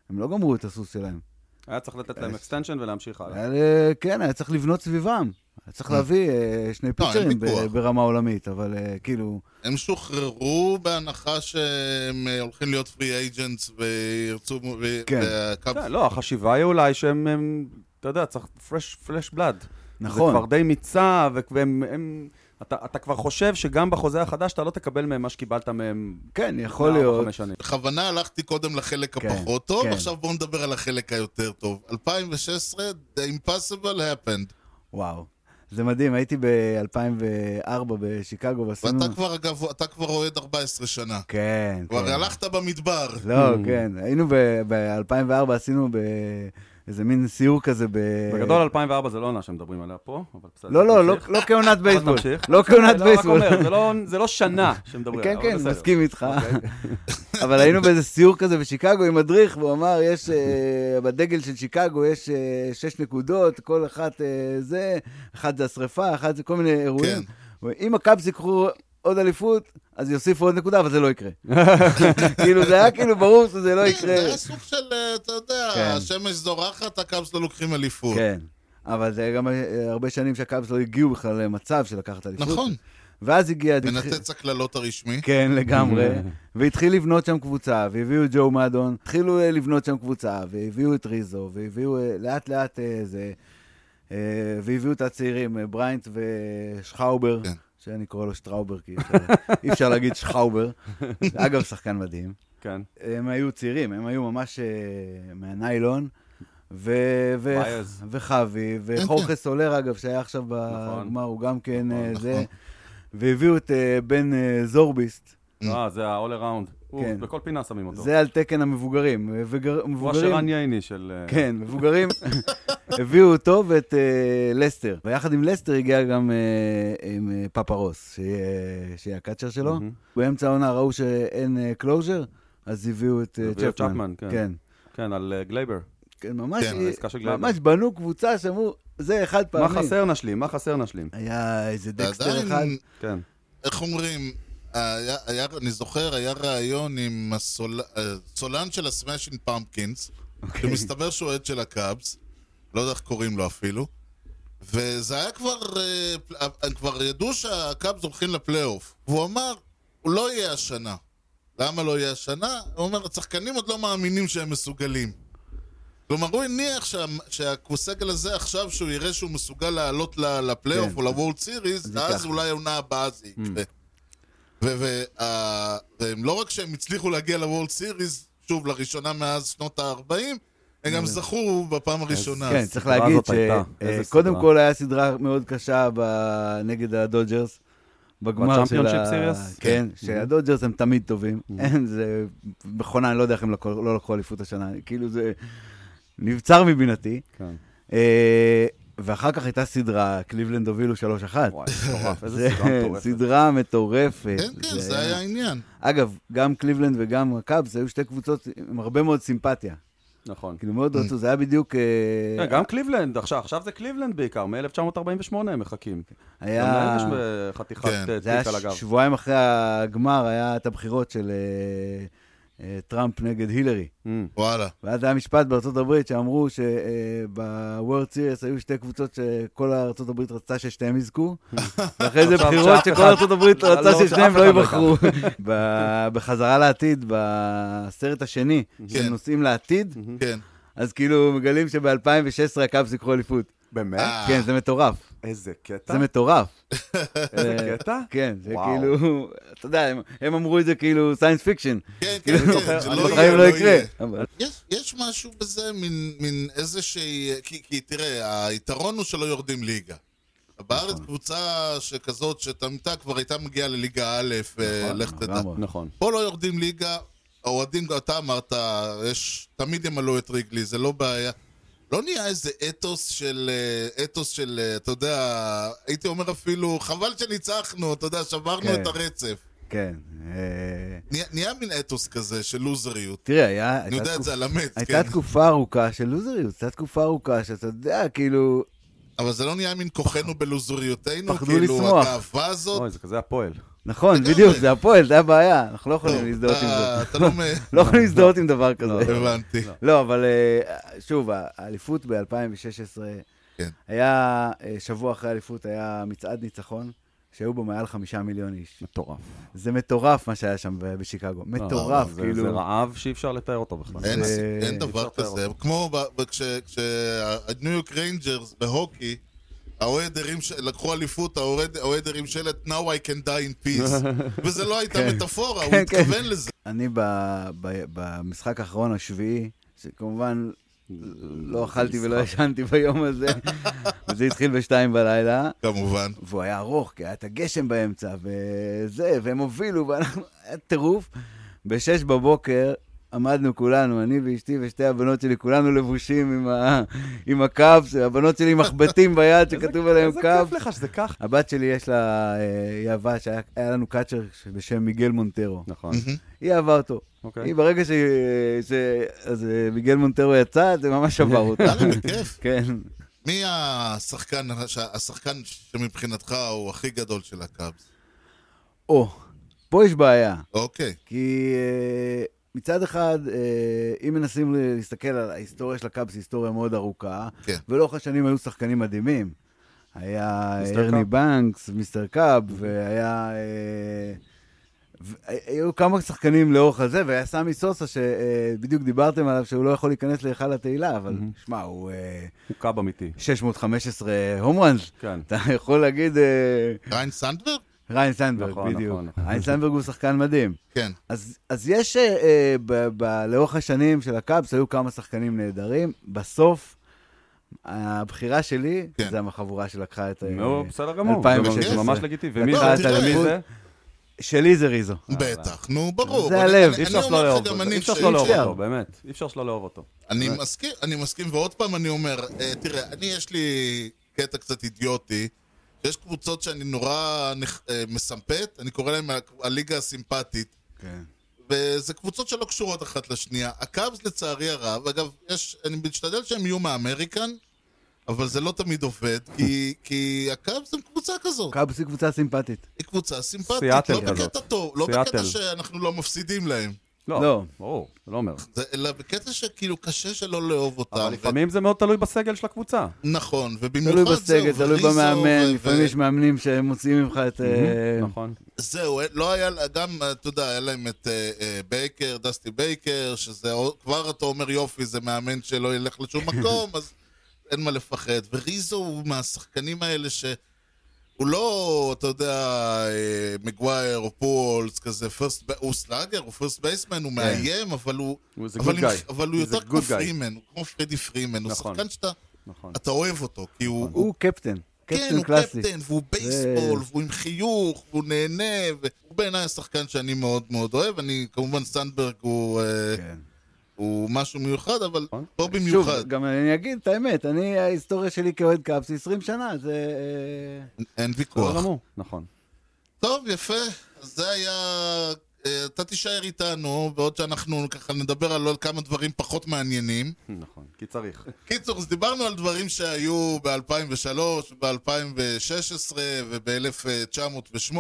[SPEAKER 4] הם לא גמרו את הסוס שלהם.
[SPEAKER 2] היה צריך לתת להם אקסטנשן ולהמשיך
[SPEAKER 1] אה.
[SPEAKER 2] הלאה.
[SPEAKER 4] אה, היה, ל- כן, היה צריך לבנות סביבם. היה צריך להביא אה, שני
[SPEAKER 1] לא, אין
[SPEAKER 4] פיצ'רים ב-
[SPEAKER 1] ויכוח.
[SPEAKER 4] ברמה עולמית, אבל אה, כאילו...
[SPEAKER 1] הם שוחררו בהנחה שהם אה, הולכים להיות פרי אייג'נטס וירצו... ו-
[SPEAKER 4] כן.
[SPEAKER 1] והקאפ-
[SPEAKER 2] כן, לא, החשיבה היא אולי שהם, הם, אתה יודע, צריך פרש, פלאש בלאד.
[SPEAKER 4] נכון.
[SPEAKER 2] זה כבר די מיצה, וכ- והם... הם, אתה, אתה כבר חושב שגם בחוזה החדש אתה לא תקבל מהם מה שקיבלת מהם
[SPEAKER 4] כן, יכול
[SPEAKER 2] לפני ארבע,
[SPEAKER 4] להיות.
[SPEAKER 2] חמש שנים.
[SPEAKER 1] בכוונה הלכתי קודם לחלק
[SPEAKER 4] כן,
[SPEAKER 1] הפחות טוב,
[SPEAKER 4] כן.
[SPEAKER 1] עכשיו בואו נדבר על החלק היותר טוב. 2016, The Impossible happened.
[SPEAKER 4] Mm. וואו. זה מדהים, הייתי ב-2004 בשיקגו, ועשינו...
[SPEAKER 1] ואתה כבר, אגב, אתה כבר אוהד 14 שנה.
[SPEAKER 4] כן,
[SPEAKER 1] כבר
[SPEAKER 4] כן.
[SPEAKER 1] הלכת במדבר.
[SPEAKER 4] לא,
[SPEAKER 2] Hmm.
[SPEAKER 4] כן. היינו ב-2004, עשינו ב... איזה מין סיור כזה ב...
[SPEAKER 2] בגדול 2004 זה לא עונה שמדברים עליה פה, אבל בסדר.
[SPEAKER 4] אה, לא, לא, לא-
[SPEAKER 2] תמשיך.
[SPEAKER 4] לא כעונת בייסבול.
[SPEAKER 2] תמשיך.
[SPEAKER 4] לא כעונת
[SPEAKER 2] לא, רק
[SPEAKER 4] בייסבול.
[SPEAKER 2] אומר, זה לא- זה לא שנה שמדברים
[SPEAKER 4] כן,
[SPEAKER 2] עליה, אבל
[SPEAKER 4] כן,
[SPEAKER 2] בסדר. אוקיי.
[SPEAKER 4] מסכים איתך. אבל היינו באיזה סיור כזה בשיקגו עם מדריך, והוא אמר, יש, אה, בדגל של שיקגו יש אה, שש נקודות, כל אחת אה, זה, אחת זה השרפה, אחת זה כל מיני אירועים.
[SPEAKER 1] כן.
[SPEAKER 4] הוא אומר, אם הקאבס ייקחו עוד אליפות, אז יוסיפו עוד נקודה, אבל זה לא יקרה. כאילו, זה היה כאילו ברור שזה לא
[SPEAKER 1] כן, זה
[SPEAKER 4] יקרה.
[SPEAKER 1] היה סוג של, אה, אתה יודע,
[SPEAKER 4] כן.
[SPEAKER 1] השמש זורחת, הקאבס לא לוקחים אליפות.
[SPEAKER 4] כן. אבל זה היה גם אה, הרבה שנים שהקאבס לא הגיעו בכלל למצב של לקחת אליפות.
[SPEAKER 1] נכון.
[SPEAKER 4] ואז הגיע...
[SPEAKER 1] מנתץ הקללות הרשמי.
[SPEAKER 4] כן, לגמרי. והתחיל לבנות שם קבוצה, והביאו את ג'ו מדון, התחילו אה, לבנות שם קבוצה, והביאו את ריזו, והביאו אה, לאט לאט אה, זה, אה, והביאו את הצעירים, אה, בריינט ושחאובר,
[SPEAKER 1] כן.
[SPEAKER 4] שאני קורא לו שטראובר, כי אי אפשר- אי אפשר להגיד שחאובר. אגב, שחקן מדהים.
[SPEAKER 2] כן.
[SPEAKER 4] הם היו צעירים, הם היו ממש אה, מהניילון. ו- ו-
[SPEAKER 2] בייז.
[SPEAKER 4] וחבי, וחורכה סולר אגב, שהיה עכשיו
[SPEAKER 2] נכון.
[SPEAKER 4] בגמר, הוא גם כן אה,
[SPEAKER 1] נכון.
[SPEAKER 4] זה. והביאו את אה, בן אה, זורביסט,
[SPEAKER 2] אה, זה ה-all around.
[SPEAKER 4] כן.
[SPEAKER 2] כן. בכל פינה שמים אותו.
[SPEAKER 4] זה על תקן המבוגרים. מבוגר-
[SPEAKER 2] הוא
[SPEAKER 4] מבוגרים,
[SPEAKER 2] השרן ייני של... אה,
[SPEAKER 4] כן, מבוגרים. הביאו אותו ואת אה, לסטר. ויחד עם לסטר הגיע גם אה, עם אה, פאפה רוס, שיהיה- שיהיה הקאצ'ר שלו.
[SPEAKER 2] מהמם.
[SPEAKER 4] באמצע העונה ראו שאין קלוז'ר, אז הביאו את אה,
[SPEAKER 2] הביאו את צ'פמן, כן.
[SPEAKER 4] כן.
[SPEAKER 2] כן, על אה, גלייבר.
[SPEAKER 4] כן, ממש,
[SPEAKER 1] כן,
[SPEAKER 4] היא-
[SPEAKER 2] העסקה של גלייבר.
[SPEAKER 4] ממש בנו קבוצה שאמרו, זה אחד
[SPEAKER 2] מה
[SPEAKER 4] פעמי.
[SPEAKER 2] חסר נשלים? מה חסר נשלים?
[SPEAKER 4] היה איזה דקסטר אחד.
[SPEAKER 1] ועדיין,
[SPEAKER 2] כן.
[SPEAKER 1] איך אומרים, היה, היה, אני זוכר, היה ראיון עם הסולן של הסמאשין פמפקינס,
[SPEAKER 4] אוקיי. כן,
[SPEAKER 1] שמסתבר שהוא אוהד של הקאבס, לא יודע איך קוראים לו אפילו, וזה היה כבר, אה, פל- אה, כבר ידעו שהקאבס הולכים לפלייאוף, והוא אמר, הוא לא יהיה השנה. למה לא יהיה השנה? הוא אומר, השחקנים עוד לא מאמינים שהם מסוגלים. כלומר, הוא הניח שה- שהסגל הזה עכשיו, שהוא יראה שהוא מסוגל לעלות ל- לפלייאוף
[SPEAKER 4] כן.
[SPEAKER 1] או לוולד סיריס,
[SPEAKER 4] זה
[SPEAKER 1] אז
[SPEAKER 4] ככה. Hmm.
[SPEAKER 1] אולי העונה הבאה זה יקרה. ו- ו- ה- והם לא רק שהם הצליחו להגיע לוולד סיריס, שוב, לראשונה מאז שנות ה-40, הם גם זכו בפעם הראשונה.
[SPEAKER 4] אה. כן,
[SPEAKER 1] אז-
[SPEAKER 4] צריך
[SPEAKER 2] הסדרה
[SPEAKER 4] להגיד
[SPEAKER 2] הזאת הייתה. איזה
[SPEAKER 4] שקודם
[SPEAKER 2] סדרה.
[SPEAKER 4] כל היה סדרה מאוד קשה ב- נגד הדודג'רס. בגמר של
[SPEAKER 2] בצ'מפיונשיפ
[SPEAKER 4] ה...
[SPEAKER 2] סיריוס? Mm-hmm.
[SPEAKER 4] כן, שהדודג'רס הם תמיד טובים. אין, זה מכונה, אני לא יודע איך הם לקחו- לא לקחו אליפות השנה. כאילו זה נבצר מבינתי.
[SPEAKER 2] כן.
[SPEAKER 4] אה, ואחר כך הייתה סדרה, קליבלנד הובילו 3-1.
[SPEAKER 2] וואי, מטורף. איזה
[SPEAKER 4] זה
[SPEAKER 2] סדרה מטורפת.
[SPEAKER 4] סדרה מטורפת.
[SPEAKER 1] כן, כן, זה היה העניין.
[SPEAKER 4] אגב, גם קליבלנד וגם הקאבס היו שתי קבוצות עם הרבה מאוד סימפתיה.
[SPEAKER 2] נכון.
[SPEAKER 4] כאילו, מאוד רצו, זה היה בדיוק... אה,
[SPEAKER 2] כן, גם קליבלנד, עכשיו עכשיו זה קליבלנד בעיקר, מ-1948 הם מחכים. גם להם
[SPEAKER 4] היה...
[SPEAKER 2] יש אה, חתיכת
[SPEAKER 1] כן.
[SPEAKER 2] אה,
[SPEAKER 4] זה היה
[SPEAKER 2] תיק על הגב.
[SPEAKER 4] שבועיים אחרי הגמר, היה את הבחירות של אה, אה, טראמפ נגד הילרי.
[SPEAKER 2] אמ,
[SPEAKER 1] וואלה.
[SPEAKER 4] ואז היה משפט בארצות הברית שאמרו שבוורד סיריס היו שתי קבוצות שכל ארצות הברית רצתה ששתיהם יזכו, ואחרי זה
[SPEAKER 2] עכשיו
[SPEAKER 4] בחירות
[SPEAKER 2] לא שאף
[SPEAKER 4] שכל
[SPEAKER 2] אחד-
[SPEAKER 4] ארצות הברית
[SPEAKER 2] לא, לא
[SPEAKER 4] רצתה
[SPEAKER 2] רוצה
[SPEAKER 4] ששניהם
[SPEAKER 2] שאף
[SPEAKER 4] לא
[SPEAKER 2] אחד לא
[SPEAKER 4] ייבחרו. ב- בחזרה לעתיד, בסרט השני, שהם נוסעים לעתיד,
[SPEAKER 1] כן.
[SPEAKER 4] אז כאילו מגלים שב-2016 הקאבס יקחו אליפות.
[SPEAKER 2] באמת?
[SPEAKER 1] אה.
[SPEAKER 4] כן, זה מטורף.
[SPEAKER 2] איזה קטע?
[SPEAKER 4] זה מטורף.
[SPEAKER 2] איזה
[SPEAKER 4] אה,
[SPEAKER 2] קטע?
[SPEAKER 4] כן, זה
[SPEAKER 2] וואו.
[SPEAKER 4] כאילו, אתה יודע, הם- הם אמרו את זה כאילו סיינס פיקשן.
[SPEAKER 1] כן, כן,
[SPEAKER 4] כאילו,
[SPEAKER 1] כן, זה
[SPEAKER 4] אני
[SPEAKER 1] לא
[SPEAKER 4] בחיים
[SPEAKER 1] יהיה,
[SPEAKER 4] לא
[SPEAKER 1] לא
[SPEAKER 4] יקרה.
[SPEAKER 1] יהיה.
[SPEAKER 4] אבל-
[SPEAKER 1] יש, יש משהו בזה, מין, מין איזושהי... כי, כי תראה, היתרון הוא שלא יורדים ליגה. בארץ
[SPEAKER 4] נכון.
[SPEAKER 1] קבוצה שכזאת, שתמיתה כבר הייתה מגיעה לליגה א', אה, לך תדע.
[SPEAKER 4] לגמרי.
[SPEAKER 2] נכון.
[SPEAKER 1] פה לא יורדים ליגה, האוהדים, אתה אמרת, יש, תמיד ימלאו את ריגלי, זה לא בעיה. לא נהיה איזה אתוס של, אה, אתוס של, אה, אתה יודע, הייתי אומר אפילו, חבל שניצחנו, אתה יודע, שברנו
[SPEAKER 4] כן.
[SPEAKER 1] את הרצף.
[SPEAKER 4] כן. אה,
[SPEAKER 1] נהיה- נהיה מין אתוס כזה של לוזריות.
[SPEAKER 4] תראה, היה...
[SPEAKER 1] אני
[SPEAKER 4] הייתה
[SPEAKER 1] יודע את
[SPEAKER 4] תקופ-
[SPEAKER 1] זה על המת,
[SPEAKER 4] הייתה
[SPEAKER 1] כן.
[SPEAKER 4] תקופה ארוכה של לוזריות, הייתה תקופה ארוכה שאתה יודע, כאילו,
[SPEAKER 1] אבל זה לא נהיה מן כוחנו בלוזוריותנו,
[SPEAKER 4] פחדו
[SPEAKER 1] כאילו
[SPEAKER 4] לשמוח.
[SPEAKER 1] הגאווה הזאת.
[SPEAKER 2] אוי, זה כזה הפועל.
[SPEAKER 4] נכון,
[SPEAKER 1] לגמרי.
[SPEAKER 4] בדיוק, זה הפועל, זה הבעיה, אנחנו לא יכולים
[SPEAKER 1] לא,
[SPEAKER 4] להזדהות עם
[SPEAKER 1] אתה-
[SPEAKER 4] זה.
[SPEAKER 1] אתה לא... מ-
[SPEAKER 4] לא יכולים להזדהות עם דבר כזה.
[SPEAKER 1] הבנתי.
[SPEAKER 4] לא, אבל אה, שוב, האליפות ב-2016,
[SPEAKER 1] כן.
[SPEAKER 4] היה, אה, שבוע אחרי האליפות היה מצעד ניצחון, שהיו בו מעל חמישה מיליון איש.
[SPEAKER 2] מטורף.
[SPEAKER 4] זה מטורף מה שהיה שם ב- בשיקגו, מטורף,
[SPEAKER 2] אה, לא, זה-
[SPEAKER 4] כאילו.
[SPEAKER 2] זה רעב שאי אפשר לתאר אותו בכלל.
[SPEAKER 1] אין,
[SPEAKER 4] זה-
[SPEAKER 1] אין דבר
[SPEAKER 2] אפשר לתאר
[SPEAKER 1] כזה. כמו כשהניו יורק ריינג'רס בהוקי, האוהד הרים, ש- לקחו אליפות, האוהד האוהד הרים שלט Now I can die in peace. וזה לא הייתה מטאפורה, הוא
[SPEAKER 4] כן, כן.
[SPEAKER 1] התכוון לזה.
[SPEAKER 4] אני ב, ב, במשחק האחרון, השביעי, שכמובן לא אכלתי ולא ישנתי ביום הזה, וזה התחיל בשתיים בלילה,
[SPEAKER 1] כמובן.
[SPEAKER 4] והוא היה ארוך, כי היה את הגשם באמצע, וזה, והם הובילו, ואנחנו, היה טירוף. בשש בבוקר עמדנו כולנו, אני ואשתי ושתי הבנות שלי, כולנו לבושים עם, ה, עם הקאפס, הבנות שלי עם מחבטים ביד שכתוב עליהם
[SPEAKER 2] איזה
[SPEAKER 4] קאפס.
[SPEAKER 2] כיף לך שזה ככה.
[SPEAKER 4] הבת שלי יש לה אה, היא אהבה, שהיה היה לנו קאצ'ר בשם מיגל מונטרו.
[SPEAKER 2] נכון.
[SPEAKER 4] היא אהבה אותו.
[SPEAKER 2] אוקיי.
[SPEAKER 4] היא ברגע ש... ש... אז אה, מיגל מונטרו יצא, זה ממש עבר אותה.
[SPEAKER 1] יאללה, בכיף.
[SPEAKER 4] כן.
[SPEAKER 1] מי השחקן, הש- השחקן שמבחינתך הוא הכי גדול של הקאבס?
[SPEAKER 4] או, פה יש בעיה.
[SPEAKER 1] אוקיי.
[SPEAKER 4] כי אה, מצד אחד, אה, אם מנסים ל- להסתכל על ההיסטוריה של הקאבס, היא היסטוריה מאוד ארוכה,
[SPEAKER 1] כן.
[SPEAKER 4] ולאורך השנים היו שחקנים מדהימים. היה
[SPEAKER 2] מיסטר Mm-hmm.
[SPEAKER 4] הרני
[SPEAKER 2] קאב.
[SPEAKER 4] בנקס, מיסטר קאב, והיה... אה, ו- אה, היו כמה שחקנים לאורך הזה, והיה סמי סוסה, שבדיוק דיברתם עליו, שהוא לא יכול להיכנס להיכל התהילה, אבל
[SPEAKER 2] Mm-hmm.
[SPEAKER 4] שמע, הוא אה,
[SPEAKER 2] הוא קאב אמיתי.
[SPEAKER 4] 615 הומראנס.
[SPEAKER 2] כן.
[SPEAKER 4] אתה יכול להגיד, אה,
[SPEAKER 1] ריין סנדברג?
[SPEAKER 4] ריין סנדברג,
[SPEAKER 2] נכון,
[SPEAKER 4] בדיוק.
[SPEAKER 2] נכון, נכון.
[SPEAKER 4] ריין סנדברג הוא שחקן מדהים.
[SPEAKER 1] כן.
[SPEAKER 4] אז, אז יש, אה, אה, ב, ב, לאורך השנים של הקאבס, היו כמה שחקנים נהדרים. בסוף, הבחירה שלי,
[SPEAKER 1] כן.
[SPEAKER 4] כן. זה החבורה שלקחה את... אה,
[SPEAKER 2] נו, בסדר גמור.
[SPEAKER 4] 2016.
[SPEAKER 2] זה ממש לגיטימי. ומי
[SPEAKER 4] לקחה
[SPEAKER 1] את
[SPEAKER 2] זה? מי
[SPEAKER 1] האליפות.
[SPEAKER 2] זה?
[SPEAKER 4] שלי זה ריזו.
[SPEAKER 1] בטח, נו, ברור.
[SPEAKER 4] זה
[SPEAKER 1] אני-
[SPEAKER 4] הלב,
[SPEAKER 1] אני-
[SPEAKER 2] אי אפשר
[SPEAKER 1] אני
[SPEAKER 2] שלא
[SPEAKER 1] אומר לך
[SPEAKER 2] לאהוב
[SPEAKER 1] גם
[SPEAKER 2] אותו.
[SPEAKER 1] אני
[SPEAKER 2] אי אפשר
[SPEAKER 1] ש-
[SPEAKER 2] שלא לא לאהוב
[SPEAKER 4] אפשר.
[SPEAKER 2] אותו, באמת. אי אפשר שלא לאהוב אותו.
[SPEAKER 1] אני מסכים, אני מסכים, ועוד פעם אני אומר, אה, תראה, אני יש לי קטע קצת אידיוטי, שיש קבוצות שאני נורא נח- אה, מסמפת, אני קורא להן ה- הליגה הסימפטית,
[SPEAKER 4] כן.
[SPEAKER 1] וזה קבוצות שלא קשורות אחת לשנייה. הקאבס לצערי הרב, אגב, יש, אני משתדל שהם יהיו מהאמריקן, אבל זה לא תמיד עובד, כי, כי הקאבס הם קבוצה כזאת.
[SPEAKER 4] קאבס היא קבוצה סימפטית.
[SPEAKER 1] היא קבוצה סימפטית,
[SPEAKER 2] סיאטל
[SPEAKER 1] לא בקטע
[SPEAKER 2] כזאת.
[SPEAKER 1] טוב, לא בקטע
[SPEAKER 2] סיאטל.
[SPEAKER 1] שאנחנו לא מפסידים להם,
[SPEAKER 2] לא,
[SPEAKER 4] לא.
[SPEAKER 2] ברור, זה לא אומר.
[SPEAKER 1] זה- אלא בקטע שכאילו קשה שלא לאהוב אותם.
[SPEAKER 2] אבל
[SPEAKER 1] ו-
[SPEAKER 2] לפעמים זה מאוד תלוי בסגל של הקבוצה.
[SPEAKER 1] נכון, ובמיוחד
[SPEAKER 4] תלוי
[SPEAKER 1] זהו,
[SPEAKER 4] בסגל, תלוי
[SPEAKER 1] וריזו,
[SPEAKER 4] במאמן,
[SPEAKER 1] ו-
[SPEAKER 4] לפעמים
[SPEAKER 1] ו-
[SPEAKER 4] יש מאמנים שמוציאים ממך את... אה,
[SPEAKER 2] נכון.
[SPEAKER 1] זהו, אה, לא היה, לה- גם, אה, אתה יודע, היה להם את אה, אה, בייקר, דסטי בייקר, שזה עוד- כבר אתה אומר יופי, זה מאמן שלא ילך לשום מקום, אז אין מה לפחד. וריזו הוא מהשחקנים האלה ש... הוא לא, אתה יודע, אה, מגווייר או פולס, כזה, first ba- הוא סלאגר, הוא פרסט בייסמן, הוא מאיים, אבל הוא...
[SPEAKER 2] כן. הוא איזה
[SPEAKER 1] אבל
[SPEAKER 2] good
[SPEAKER 1] עם-
[SPEAKER 2] guy.
[SPEAKER 1] אבל הוא
[SPEAKER 2] He's a
[SPEAKER 1] יותר כמו
[SPEAKER 2] good guy.
[SPEAKER 1] פרימן, הוא כמו פרדי פרימן, הוא
[SPEAKER 2] נכון.
[SPEAKER 1] שחקן שאתה
[SPEAKER 2] נכון.
[SPEAKER 1] אתה אוהב אותו, כי הוא
[SPEAKER 4] הוא קפטן.
[SPEAKER 1] כן,
[SPEAKER 4] קפטן
[SPEAKER 1] הוא
[SPEAKER 4] קלאסי.
[SPEAKER 1] קפטן, והוא בייסבול, והוא עם חיוך, והוא נהנה, והוא בעיניי השחקן שאני מאוד מאוד אוהב. אני, כמובן, סנדברג הוא, אה,
[SPEAKER 4] כן.
[SPEAKER 1] הוא משהו מיוחד, אבל
[SPEAKER 2] נכון.
[SPEAKER 1] פה
[SPEAKER 4] שוב,
[SPEAKER 1] במיוחד.
[SPEAKER 4] גם אני אגיד את האמת, אני, ההיסטוריה שלי כאוהד קאבס היא 20 שנה, זה... אה,
[SPEAKER 1] אין
[SPEAKER 2] בסדר
[SPEAKER 1] ויכוח.
[SPEAKER 2] גמור. נכון.
[SPEAKER 1] טוב, יפה. אז זה היה... אה, אתה תישאר איתנו, בעוד שאנחנו ככה נדבר על עוד כמה דברים פחות מעניינים.
[SPEAKER 2] נכון. כי צריך.
[SPEAKER 1] קיצור, אז דיברנו על דברים שהיו ב-2003, ב-2016 וב-1908.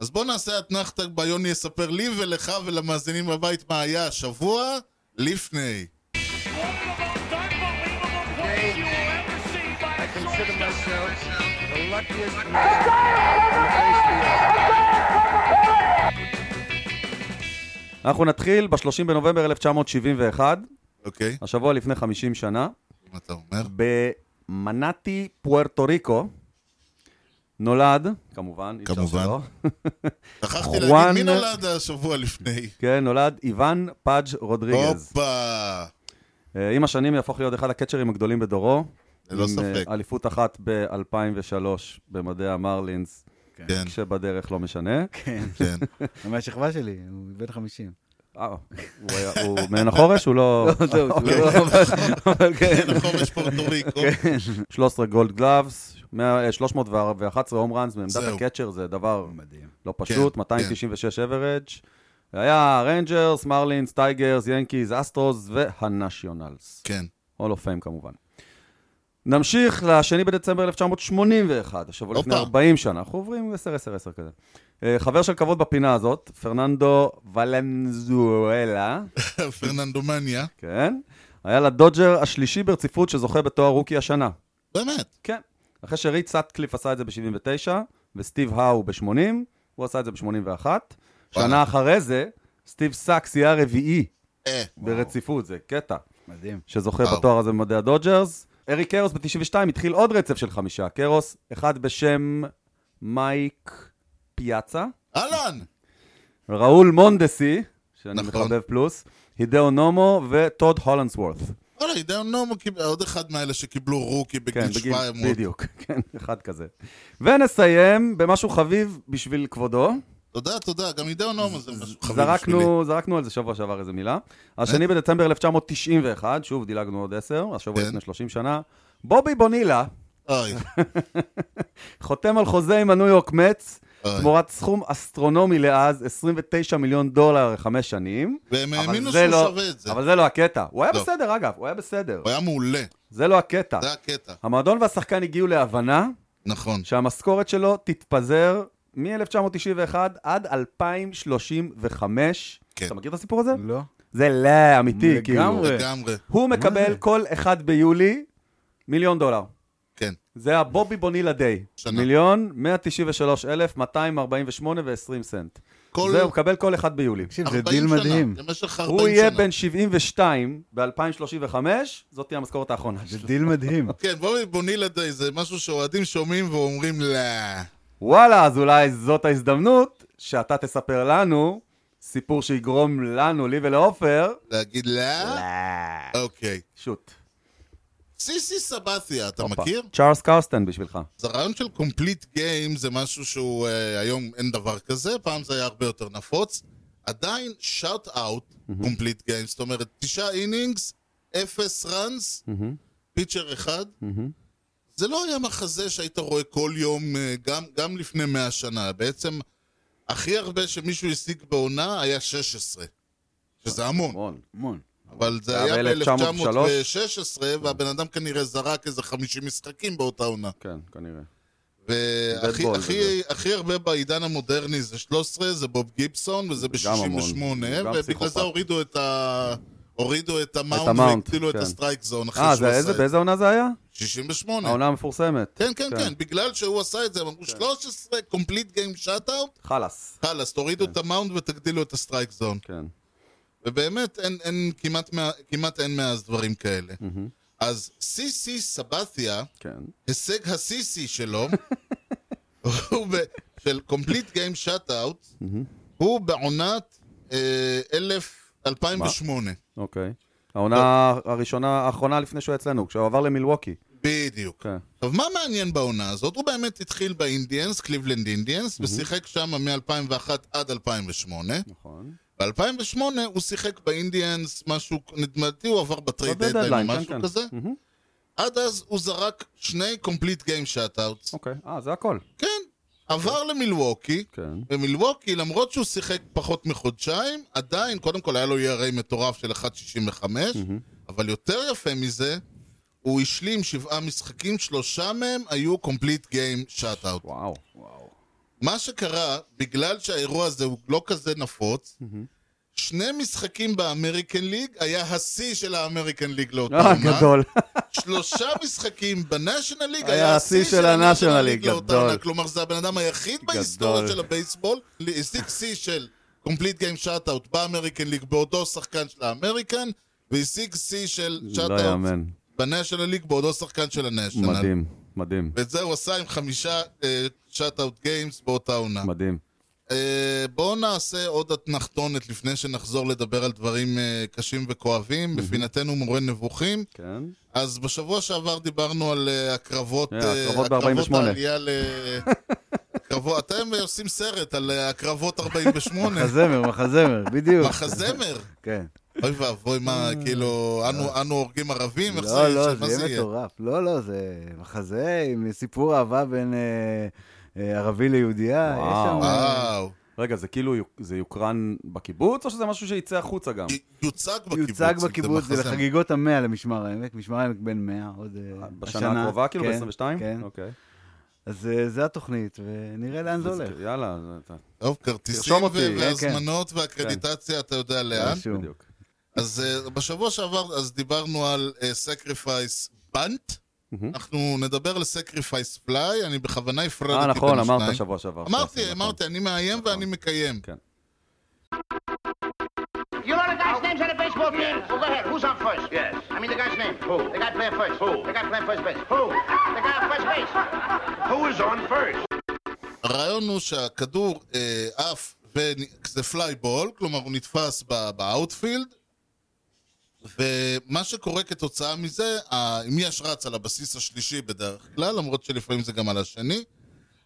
[SPEAKER 1] אז בואו נעשה אתנחתא ביוני יספר לי ולך ולמאזינים בבית מה היה השבוע לפני.
[SPEAKER 5] consider myself the luckiest man.
[SPEAKER 2] אנחנו נתחיל ב-30 בנובמבר 1971,
[SPEAKER 1] אוקיי,
[SPEAKER 2] השבוע לפני 50 שנה,
[SPEAKER 1] מה אתה אומר?
[SPEAKER 2] במנאטי, פוארטו ריקו, נולד, כמובן, אי אפשר
[SPEAKER 1] כמובן.
[SPEAKER 2] שלא,
[SPEAKER 1] שכחתי
[SPEAKER 2] חואן-
[SPEAKER 1] להגיד מי נולד השבוע לפני.
[SPEAKER 2] כן, נולד איוון פאג' רודריגז.
[SPEAKER 1] הופה!
[SPEAKER 2] אה, עם השנים יהפוך להיות אחד הקצ'רים הגדולים בדורו.
[SPEAKER 1] ללא
[SPEAKER 2] עם,
[SPEAKER 1] ספק.
[SPEAKER 2] אה, אליפות אחת ב-2003 במדעי המרלינס,
[SPEAKER 1] כן,
[SPEAKER 2] כשבדרך לא משנה.
[SPEAKER 4] כן,
[SPEAKER 1] כן.
[SPEAKER 4] הוא מהשכבה שלי, הוא בן 50.
[SPEAKER 2] אה, הוא היה- הוא מעין החורש? הוא לא...
[SPEAKER 4] לא, זהו, זה לא... אבל- אבל כן.
[SPEAKER 1] כן, חורש פורטו ריקו.
[SPEAKER 2] 13 גולד גלאבס, 100, אה, 311 הום ראנס מעמדת
[SPEAKER 1] זהו.
[SPEAKER 2] הקצ'ר, זה דבר
[SPEAKER 4] מדהים.
[SPEAKER 2] לא פשוט,
[SPEAKER 1] כן.
[SPEAKER 2] 296 אברג'. היה ריינג'רס, מרלינס, טייגרס, ינקיז, אסטרוס והנשיונלס.
[SPEAKER 1] כן.
[SPEAKER 2] הול אוף פיים כמובן. נמשיך לשני בדצמבר 1981, השבוע לפני
[SPEAKER 1] הופה.
[SPEAKER 2] 40 שנה. אנחנו עוברים 10-10-10 כזה. אה, חבר של כבוד בפינה הזאת, פרננדו ולנזואלה,
[SPEAKER 1] פרננדומניה.
[SPEAKER 2] כן? היה לדודג'ר השלישי ברציפות שזוכה בתואר רוקי השנה.
[SPEAKER 1] באמת.
[SPEAKER 2] כן. אחרי שריט סאטקליף עשה את זה ב-79, וסטיב האו ב-80, הוא עשה את זה ב-81. שנה אחרי זה, סטיב סאקס יהיה הרביעי
[SPEAKER 1] אה,
[SPEAKER 2] ברציפות, זה קטע.
[SPEAKER 4] מדהים.
[SPEAKER 2] שזוכה
[SPEAKER 1] וואו.
[SPEAKER 2] בתואר הזה במדעי הדודג'רס. אריק קרוס ב-92 התחיל עוד רצף של חמישה. קרוס, אחד בשם מייק פיאצה,
[SPEAKER 1] אהלן!
[SPEAKER 2] ראול מונדסי, שאני
[SPEAKER 1] נכון.
[SPEAKER 2] מחבב פלוס, הידאו נומו וטוד הולנסוורת.
[SPEAKER 1] וואלה, עידן נומו, קיב- עוד אחד מאלה שקיבלו רוקי
[SPEAKER 2] כן,
[SPEAKER 1] בגיל
[SPEAKER 2] בגיל,
[SPEAKER 1] 700.
[SPEAKER 2] בדיוק, כן, אחד כזה. ונסיים במשהו חביב בשביל כבודו.
[SPEAKER 1] תודה, תודה, גם עידן נומו זה משהו חביב בשבילי.
[SPEAKER 2] זרקנו, זרקנו על זה שבוע שעבר איזה מילה.
[SPEAKER 1] אה?
[SPEAKER 2] השני בדצמבר 1991, שוב דילגנו עוד עשר, השבוע
[SPEAKER 1] כן.
[SPEAKER 2] לפני 30 שנה, בובי בונילה
[SPEAKER 1] אוי,
[SPEAKER 2] חותם על חוזה עם הניו יורק מצ,
[SPEAKER 1] אוי.
[SPEAKER 2] תמורת סכום אסטרונומי לאז, 29 מיליון דולר לחמש שנים.
[SPEAKER 1] והם
[SPEAKER 2] אבל
[SPEAKER 1] האמינו
[SPEAKER 2] זה
[SPEAKER 1] שהוא
[SPEAKER 2] לא-
[SPEAKER 1] אה, שווה את זה.
[SPEAKER 2] אבל זה לא הקטע. הוא היה
[SPEAKER 1] לא.
[SPEAKER 2] בסדר, אגב, הוא היה בסדר.
[SPEAKER 1] הוא היה מעולה,
[SPEAKER 2] זה לא הקטע.
[SPEAKER 1] זה הקטע.
[SPEAKER 2] המועדון והשחקן הגיעו להבנה
[SPEAKER 1] נכון.
[SPEAKER 2] שהמשכורת שלו תתפזר מ-1991 עד 2035.
[SPEAKER 1] כן.
[SPEAKER 2] אתה מכיר את הסיפור הזה?
[SPEAKER 4] לא?
[SPEAKER 2] זה לא אמיתי,
[SPEAKER 4] לגמרי.
[SPEAKER 2] כאילו.
[SPEAKER 1] לגמרי,
[SPEAKER 2] הוא מקבל
[SPEAKER 4] זה?
[SPEAKER 2] כל אחד ביולי מיליון דולר.
[SPEAKER 1] כן.
[SPEAKER 2] זה הבובי בונילה דיי.
[SPEAKER 1] שנה.
[SPEAKER 2] מיליון, 193 אלף, 248 ו-20 סנט.
[SPEAKER 1] כל
[SPEAKER 2] זה הוא מקבל כל אחד ביולי.
[SPEAKER 4] תקשיב, זה
[SPEAKER 1] 40
[SPEAKER 4] דיל
[SPEAKER 1] שנה,
[SPEAKER 4] מדהים.
[SPEAKER 1] במשך 40 שנה.
[SPEAKER 2] הוא יהיה בן 72 ב-2035, זאת תהיה המשכורת האחרונה
[SPEAKER 4] זה
[SPEAKER 2] שלו.
[SPEAKER 4] דיל מדהים.
[SPEAKER 1] כן, בואי בונילה די, זה משהו שאוהדים שומעים ואומרים לא.
[SPEAKER 2] וואלה, אז אולי זאת ההזדמנות שאתה תספר לנו סיפור שיגרום לנו, לי ולעופר,
[SPEAKER 1] להגיד לא? אוקיי.
[SPEAKER 2] שוט.
[SPEAKER 1] סיסי סבתיה, אתה
[SPEAKER 2] הופה.
[SPEAKER 1] מכיר?
[SPEAKER 2] צ'ארלס קרסטן בשבילך.
[SPEAKER 1] אז הרעיון של קומפליט גיים זה משהו שהוא, אה, היום אין דבר כזה, פעם זה היה הרבה יותר נפוץ. עדיין שאוט אאוט קומפליט גיים, זאת אומרת, תשעה אינינגס, אפס ראנס, פיצ'ר אחד. זה לא היה מחזה שהיית רואה כל יום, אה, גם, גם לפני מאה שנה. בעצם, הכי הרבה שמישהו השיג בעונה היה 16. שזה המון.
[SPEAKER 2] רון.
[SPEAKER 4] המון.
[SPEAKER 1] אבל זה
[SPEAKER 2] זה
[SPEAKER 1] היה
[SPEAKER 2] היה
[SPEAKER 1] ב-1916, והבן אדם כנראה זרק איזה 50 משחקים באותה עונה.
[SPEAKER 2] כן, כנראה.
[SPEAKER 1] והכי
[SPEAKER 2] בול
[SPEAKER 1] הכי- הכי הרבה בעידן המודרני זה 13, זה בוב גיבסון, וזה
[SPEAKER 2] גם המון.
[SPEAKER 1] ב-68,
[SPEAKER 2] גם
[SPEAKER 1] ובגלל
[SPEAKER 2] פסיכופת.
[SPEAKER 1] זה הורידו את ה... הורידו את המאונט
[SPEAKER 2] המאונט,
[SPEAKER 1] והקטילו את
[SPEAKER 2] כן.
[SPEAKER 1] הסטרייק זון אחרי
[SPEAKER 2] אה,
[SPEAKER 1] שהוא
[SPEAKER 2] זה
[SPEAKER 1] עשה
[SPEAKER 2] איזה-
[SPEAKER 1] את זה.
[SPEAKER 2] באיזה עונה זה היה?
[SPEAKER 1] 68.
[SPEAKER 2] העונה כן. המפורסמת.
[SPEAKER 1] כן, כן, כן, בגלל שהוא עשה את זה, הם אמרו 13, קומפליט גיים שאט-אאוט,
[SPEAKER 2] חלאס.
[SPEAKER 1] חלאס, תורידו את המאונד ותגדילו את הסטרייק זון.
[SPEAKER 2] כן.
[SPEAKER 1] ובאמת אין, אין כמעט, מה- כמעט אין מאז דברים כאלה. אז סיסי סבתיה,
[SPEAKER 2] כן.
[SPEAKER 1] הישג הסיסי שלו, הוא ב, של Complete Game Shutout, הוא בעונת אה, אלף- 2008.
[SPEAKER 2] אוקיי. העונה
[SPEAKER 1] לא.
[SPEAKER 2] הראשונה, האחרונה לפני שהוא היה אצלנו, כשהוא עבר למילווקי.
[SPEAKER 1] בדיוק.
[SPEAKER 2] כן.
[SPEAKER 1] עכשיו, מה מעניין בעונה הזאת? הוא באמת התחיל באינדיאנס, קליבלנד אינדיאנס, ושיחק שם מ-2001 עד 2008.
[SPEAKER 2] נכון.
[SPEAKER 1] ב-2008 הוא שיחק באינדיאנס, משהו, נדמתי הוא עבר בטרייד
[SPEAKER 2] בדדליין,
[SPEAKER 1] דדליין או
[SPEAKER 2] כן,
[SPEAKER 1] משהו
[SPEAKER 2] כן.
[SPEAKER 1] כזה.
[SPEAKER 2] מהמם.
[SPEAKER 1] עד אז הוא זרק שני קומפליט גיים שאט-אאוטס.
[SPEAKER 2] אוקיי. אה, זה הכל.
[SPEAKER 1] כן, עבר למילווקי,
[SPEAKER 2] כן.
[SPEAKER 1] ומילווקי, למרות שהוא שיחק פחות מחודשיים, עדיין, קודם כל היה לו ERA מטורף של 1.65, אבל יותר יפה מזה, הוא השלים שבעה משחקים, שלושה מהם היו קומפליט גיים שאט-אאוט.
[SPEAKER 2] וואו.
[SPEAKER 1] מה שקרה, בגלל שהאירוע הזה הוא לא כזה נפוץ, שני משחקים באמריקן ליג היה השיא של האמריקן ליג לאותה
[SPEAKER 2] אה,
[SPEAKER 1] עונה.
[SPEAKER 2] גדול.
[SPEAKER 1] שלושה משחקים בנשיונל ליג
[SPEAKER 2] היה השיא של ה-National League,
[SPEAKER 1] לאותה
[SPEAKER 2] גדול.
[SPEAKER 1] עונה. כלומר, זה הבן אדם היחיד בהיסטוריה של הבייסבול, השיג שיא של קומפליט גיים שאט-אאוט באמריקן ליג באותו שחקן של האמריקן, והשיג שיא של
[SPEAKER 2] לא
[SPEAKER 1] שאט-אאוט
[SPEAKER 2] יאמן.
[SPEAKER 1] בנשיונל ליג באותו שחקן של הנשיונל.
[SPEAKER 2] מדהים. מדהים.
[SPEAKER 1] ואת זה הוא עשה עם חמישה אה, שאט-אאוט גיימס באותה עונה.
[SPEAKER 2] מדהים.
[SPEAKER 1] אה, בואו נעשה עוד אתנחתונת לפני שנחזור לדבר על דברים אה, קשים וכואבים, בפינתנו מורה נבוכים.
[SPEAKER 2] כן.
[SPEAKER 1] אז בשבוע שעבר דיברנו על אה, הקרבות...
[SPEAKER 2] אה,
[SPEAKER 4] כן,
[SPEAKER 1] אה,
[SPEAKER 2] הקרבות ב-48.
[SPEAKER 1] העלייה ל... הקרבות... אתם עושים סרט על אה, הקרבות 48.
[SPEAKER 4] מחזמר, מחזמר, בדיוק.
[SPEAKER 1] מחזמר.
[SPEAKER 4] כן.
[SPEAKER 1] אוי ואבוי, מה, כאילו, אנו- אנו הורגים ערבים? איך
[SPEAKER 4] אה. לא, לא,
[SPEAKER 1] מה
[SPEAKER 4] זה יהיה מטורף. לא, לא, זה מחזה עם סיפור אהבה בין אה, אה, ערבי ליהודייה. יש
[SPEAKER 2] וואו.
[SPEAKER 4] שם, אה,
[SPEAKER 1] וואו.
[SPEAKER 2] רגע, זה כאילו, יוק- זה יוקרן בקיבוץ, או שזה משהו שיצא החוצה גם?
[SPEAKER 1] י- יוצג בקיבוץ.
[SPEAKER 4] יוצג
[SPEAKER 1] אם
[SPEAKER 4] בקיבוץ, זה
[SPEAKER 1] מחזמר.
[SPEAKER 4] לחגיגות המאה למשמר העמק, משמר העמק בן 100, עוד אה,
[SPEAKER 2] בשנה הקרובה, כאילו,
[SPEAKER 4] כן,
[SPEAKER 2] ב-22?
[SPEAKER 4] כן,
[SPEAKER 2] אוקיי.
[SPEAKER 4] אז אה, זה התוכנית, ונראה לאן זה
[SPEAKER 2] אז
[SPEAKER 4] הולך.
[SPEAKER 2] יאללה, כן, זה- אתה-
[SPEAKER 1] טוב, כרטיסים
[SPEAKER 2] תרשום אותי,
[SPEAKER 1] ו-
[SPEAKER 2] כן,
[SPEAKER 4] אה,
[SPEAKER 1] והזמנות והקרדיטציה, אתה יודע לאן.
[SPEAKER 4] רשום.
[SPEAKER 2] בדיוק.
[SPEAKER 1] אז אה, בשבוע שעבר, אז דיברנו על סקריפייס בנט.
[SPEAKER 2] מהמם.
[SPEAKER 1] אנחנו נדבר על סקריפייס פליי, אני בכוונה הפרדתי בין
[SPEAKER 2] אה,
[SPEAKER 1] השניים.
[SPEAKER 2] נכון, אמרת שבוע שעבר.
[SPEAKER 1] אמרתי,
[SPEAKER 2] נכון.
[SPEAKER 1] אמרתי, אני מאיים
[SPEAKER 2] נכון.
[SPEAKER 1] ואני מקיים.
[SPEAKER 2] כן.
[SPEAKER 6] You know the guy's names on the baseball team? Well, go ahead. Who's on first? Yes. I mean the guy's name. Who? The guy playing first. Who? The guy playing first base. Who? The guy on first base.
[SPEAKER 5] Who is on first?
[SPEAKER 1] הרעיון הוא שהכדור אה, עף, ונ- זה פליי בול, כלומר הוא נתפס ב- באאוטפילד, ומה שקורה כתוצאה מזה, ה- אם יש רץ על הבסיס השלישי בדרך כלל, למרות שלפעמים זה גם על השני,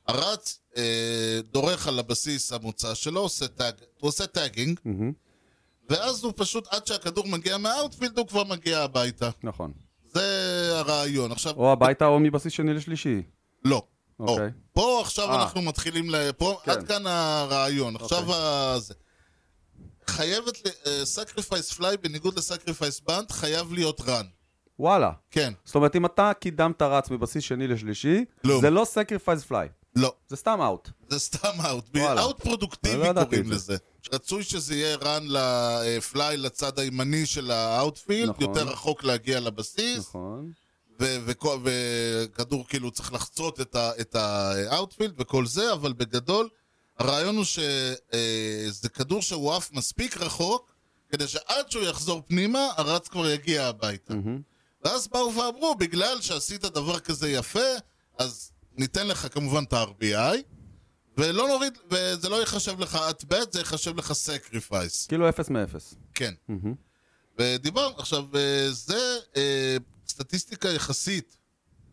[SPEAKER 1] הרץ אה, דורך על הבסיס המוצא שלו, עושה טאג, הוא עושה טאגינג,
[SPEAKER 2] מהמם.
[SPEAKER 1] ואז הוא פשוט, עד שהכדור מגיע מהאאוטפילד, הוא כבר מגיע הביתה.
[SPEAKER 2] נכון.
[SPEAKER 1] זה הרעיון. עכשיו,
[SPEAKER 2] או הביתה או מבסיס שני לשלישי.
[SPEAKER 1] לא.
[SPEAKER 2] אוקיי.
[SPEAKER 1] או, פה עכשיו
[SPEAKER 2] אה.
[SPEAKER 1] אנחנו מתחילים, ל- פה,
[SPEAKER 2] כן. אוקיי.
[SPEAKER 1] עד כאן הרעיון. עכשיו ה- זה. חייבת, סקריפייס פליי, בניגוד לסקריפייס בנט, חייב להיות רן.
[SPEAKER 2] וואלה.
[SPEAKER 1] כן,
[SPEAKER 2] זאת אומרת, אם אתה קידמת רץ מבסיס שני לשלישי,
[SPEAKER 1] לא.
[SPEAKER 2] זה לא סקריפייז פליי.
[SPEAKER 1] לא.
[SPEAKER 2] זה סתם אאוט.
[SPEAKER 1] זה סתם אאוט.
[SPEAKER 2] וואלה.
[SPEAKER 1] אאוט
[SPEAKER 2] לא
[SPEAKER 1] פרודוקטיבי
[SPEAKER 2] ידעתי
[SPEAKER 1] קוראים
[SPEAKER 2] את זה.
[SPEAKER 1] לזה. רצוי שזה יהיה רן לפליי לצד הימני של האאוטפילד,
[SPEAKER 2] נכון.
[SPEAKER 1] יותר רחוק להגיע לבסיס,
[SPEAKER 2] נכון.
[SPEAKER 1] ו- וכו- וכדור כאילו צריך לחצות את ה- את האאוטפילד וכל זה, אבל בגדול, הרעיון הוא שזה כדור שהוא עף מספיק רחוק, כדי שעד שהוא יחזור פנימה, הרץ כבר יגיע הביתה.
[SPEAKER 2] מהמם.
[SPEAKER 1] ואז באו ואמרו, בגלל שעשית דבר כזה יפה, אז ניתן לך כמובן את ה-RBI, ולא נוריד, וזה לא ייחשב לך at bet, זה ייחשב לך sacrifice.
[SPEAKER 2] כאילו אפס מאפס.
[SPEAKER 1] כן.
[SPEAKER 2] מהמם.
[SPEAKER 1] ודיבר, עכשיו, אה, זה אה, סטטיסטיקה יחסית,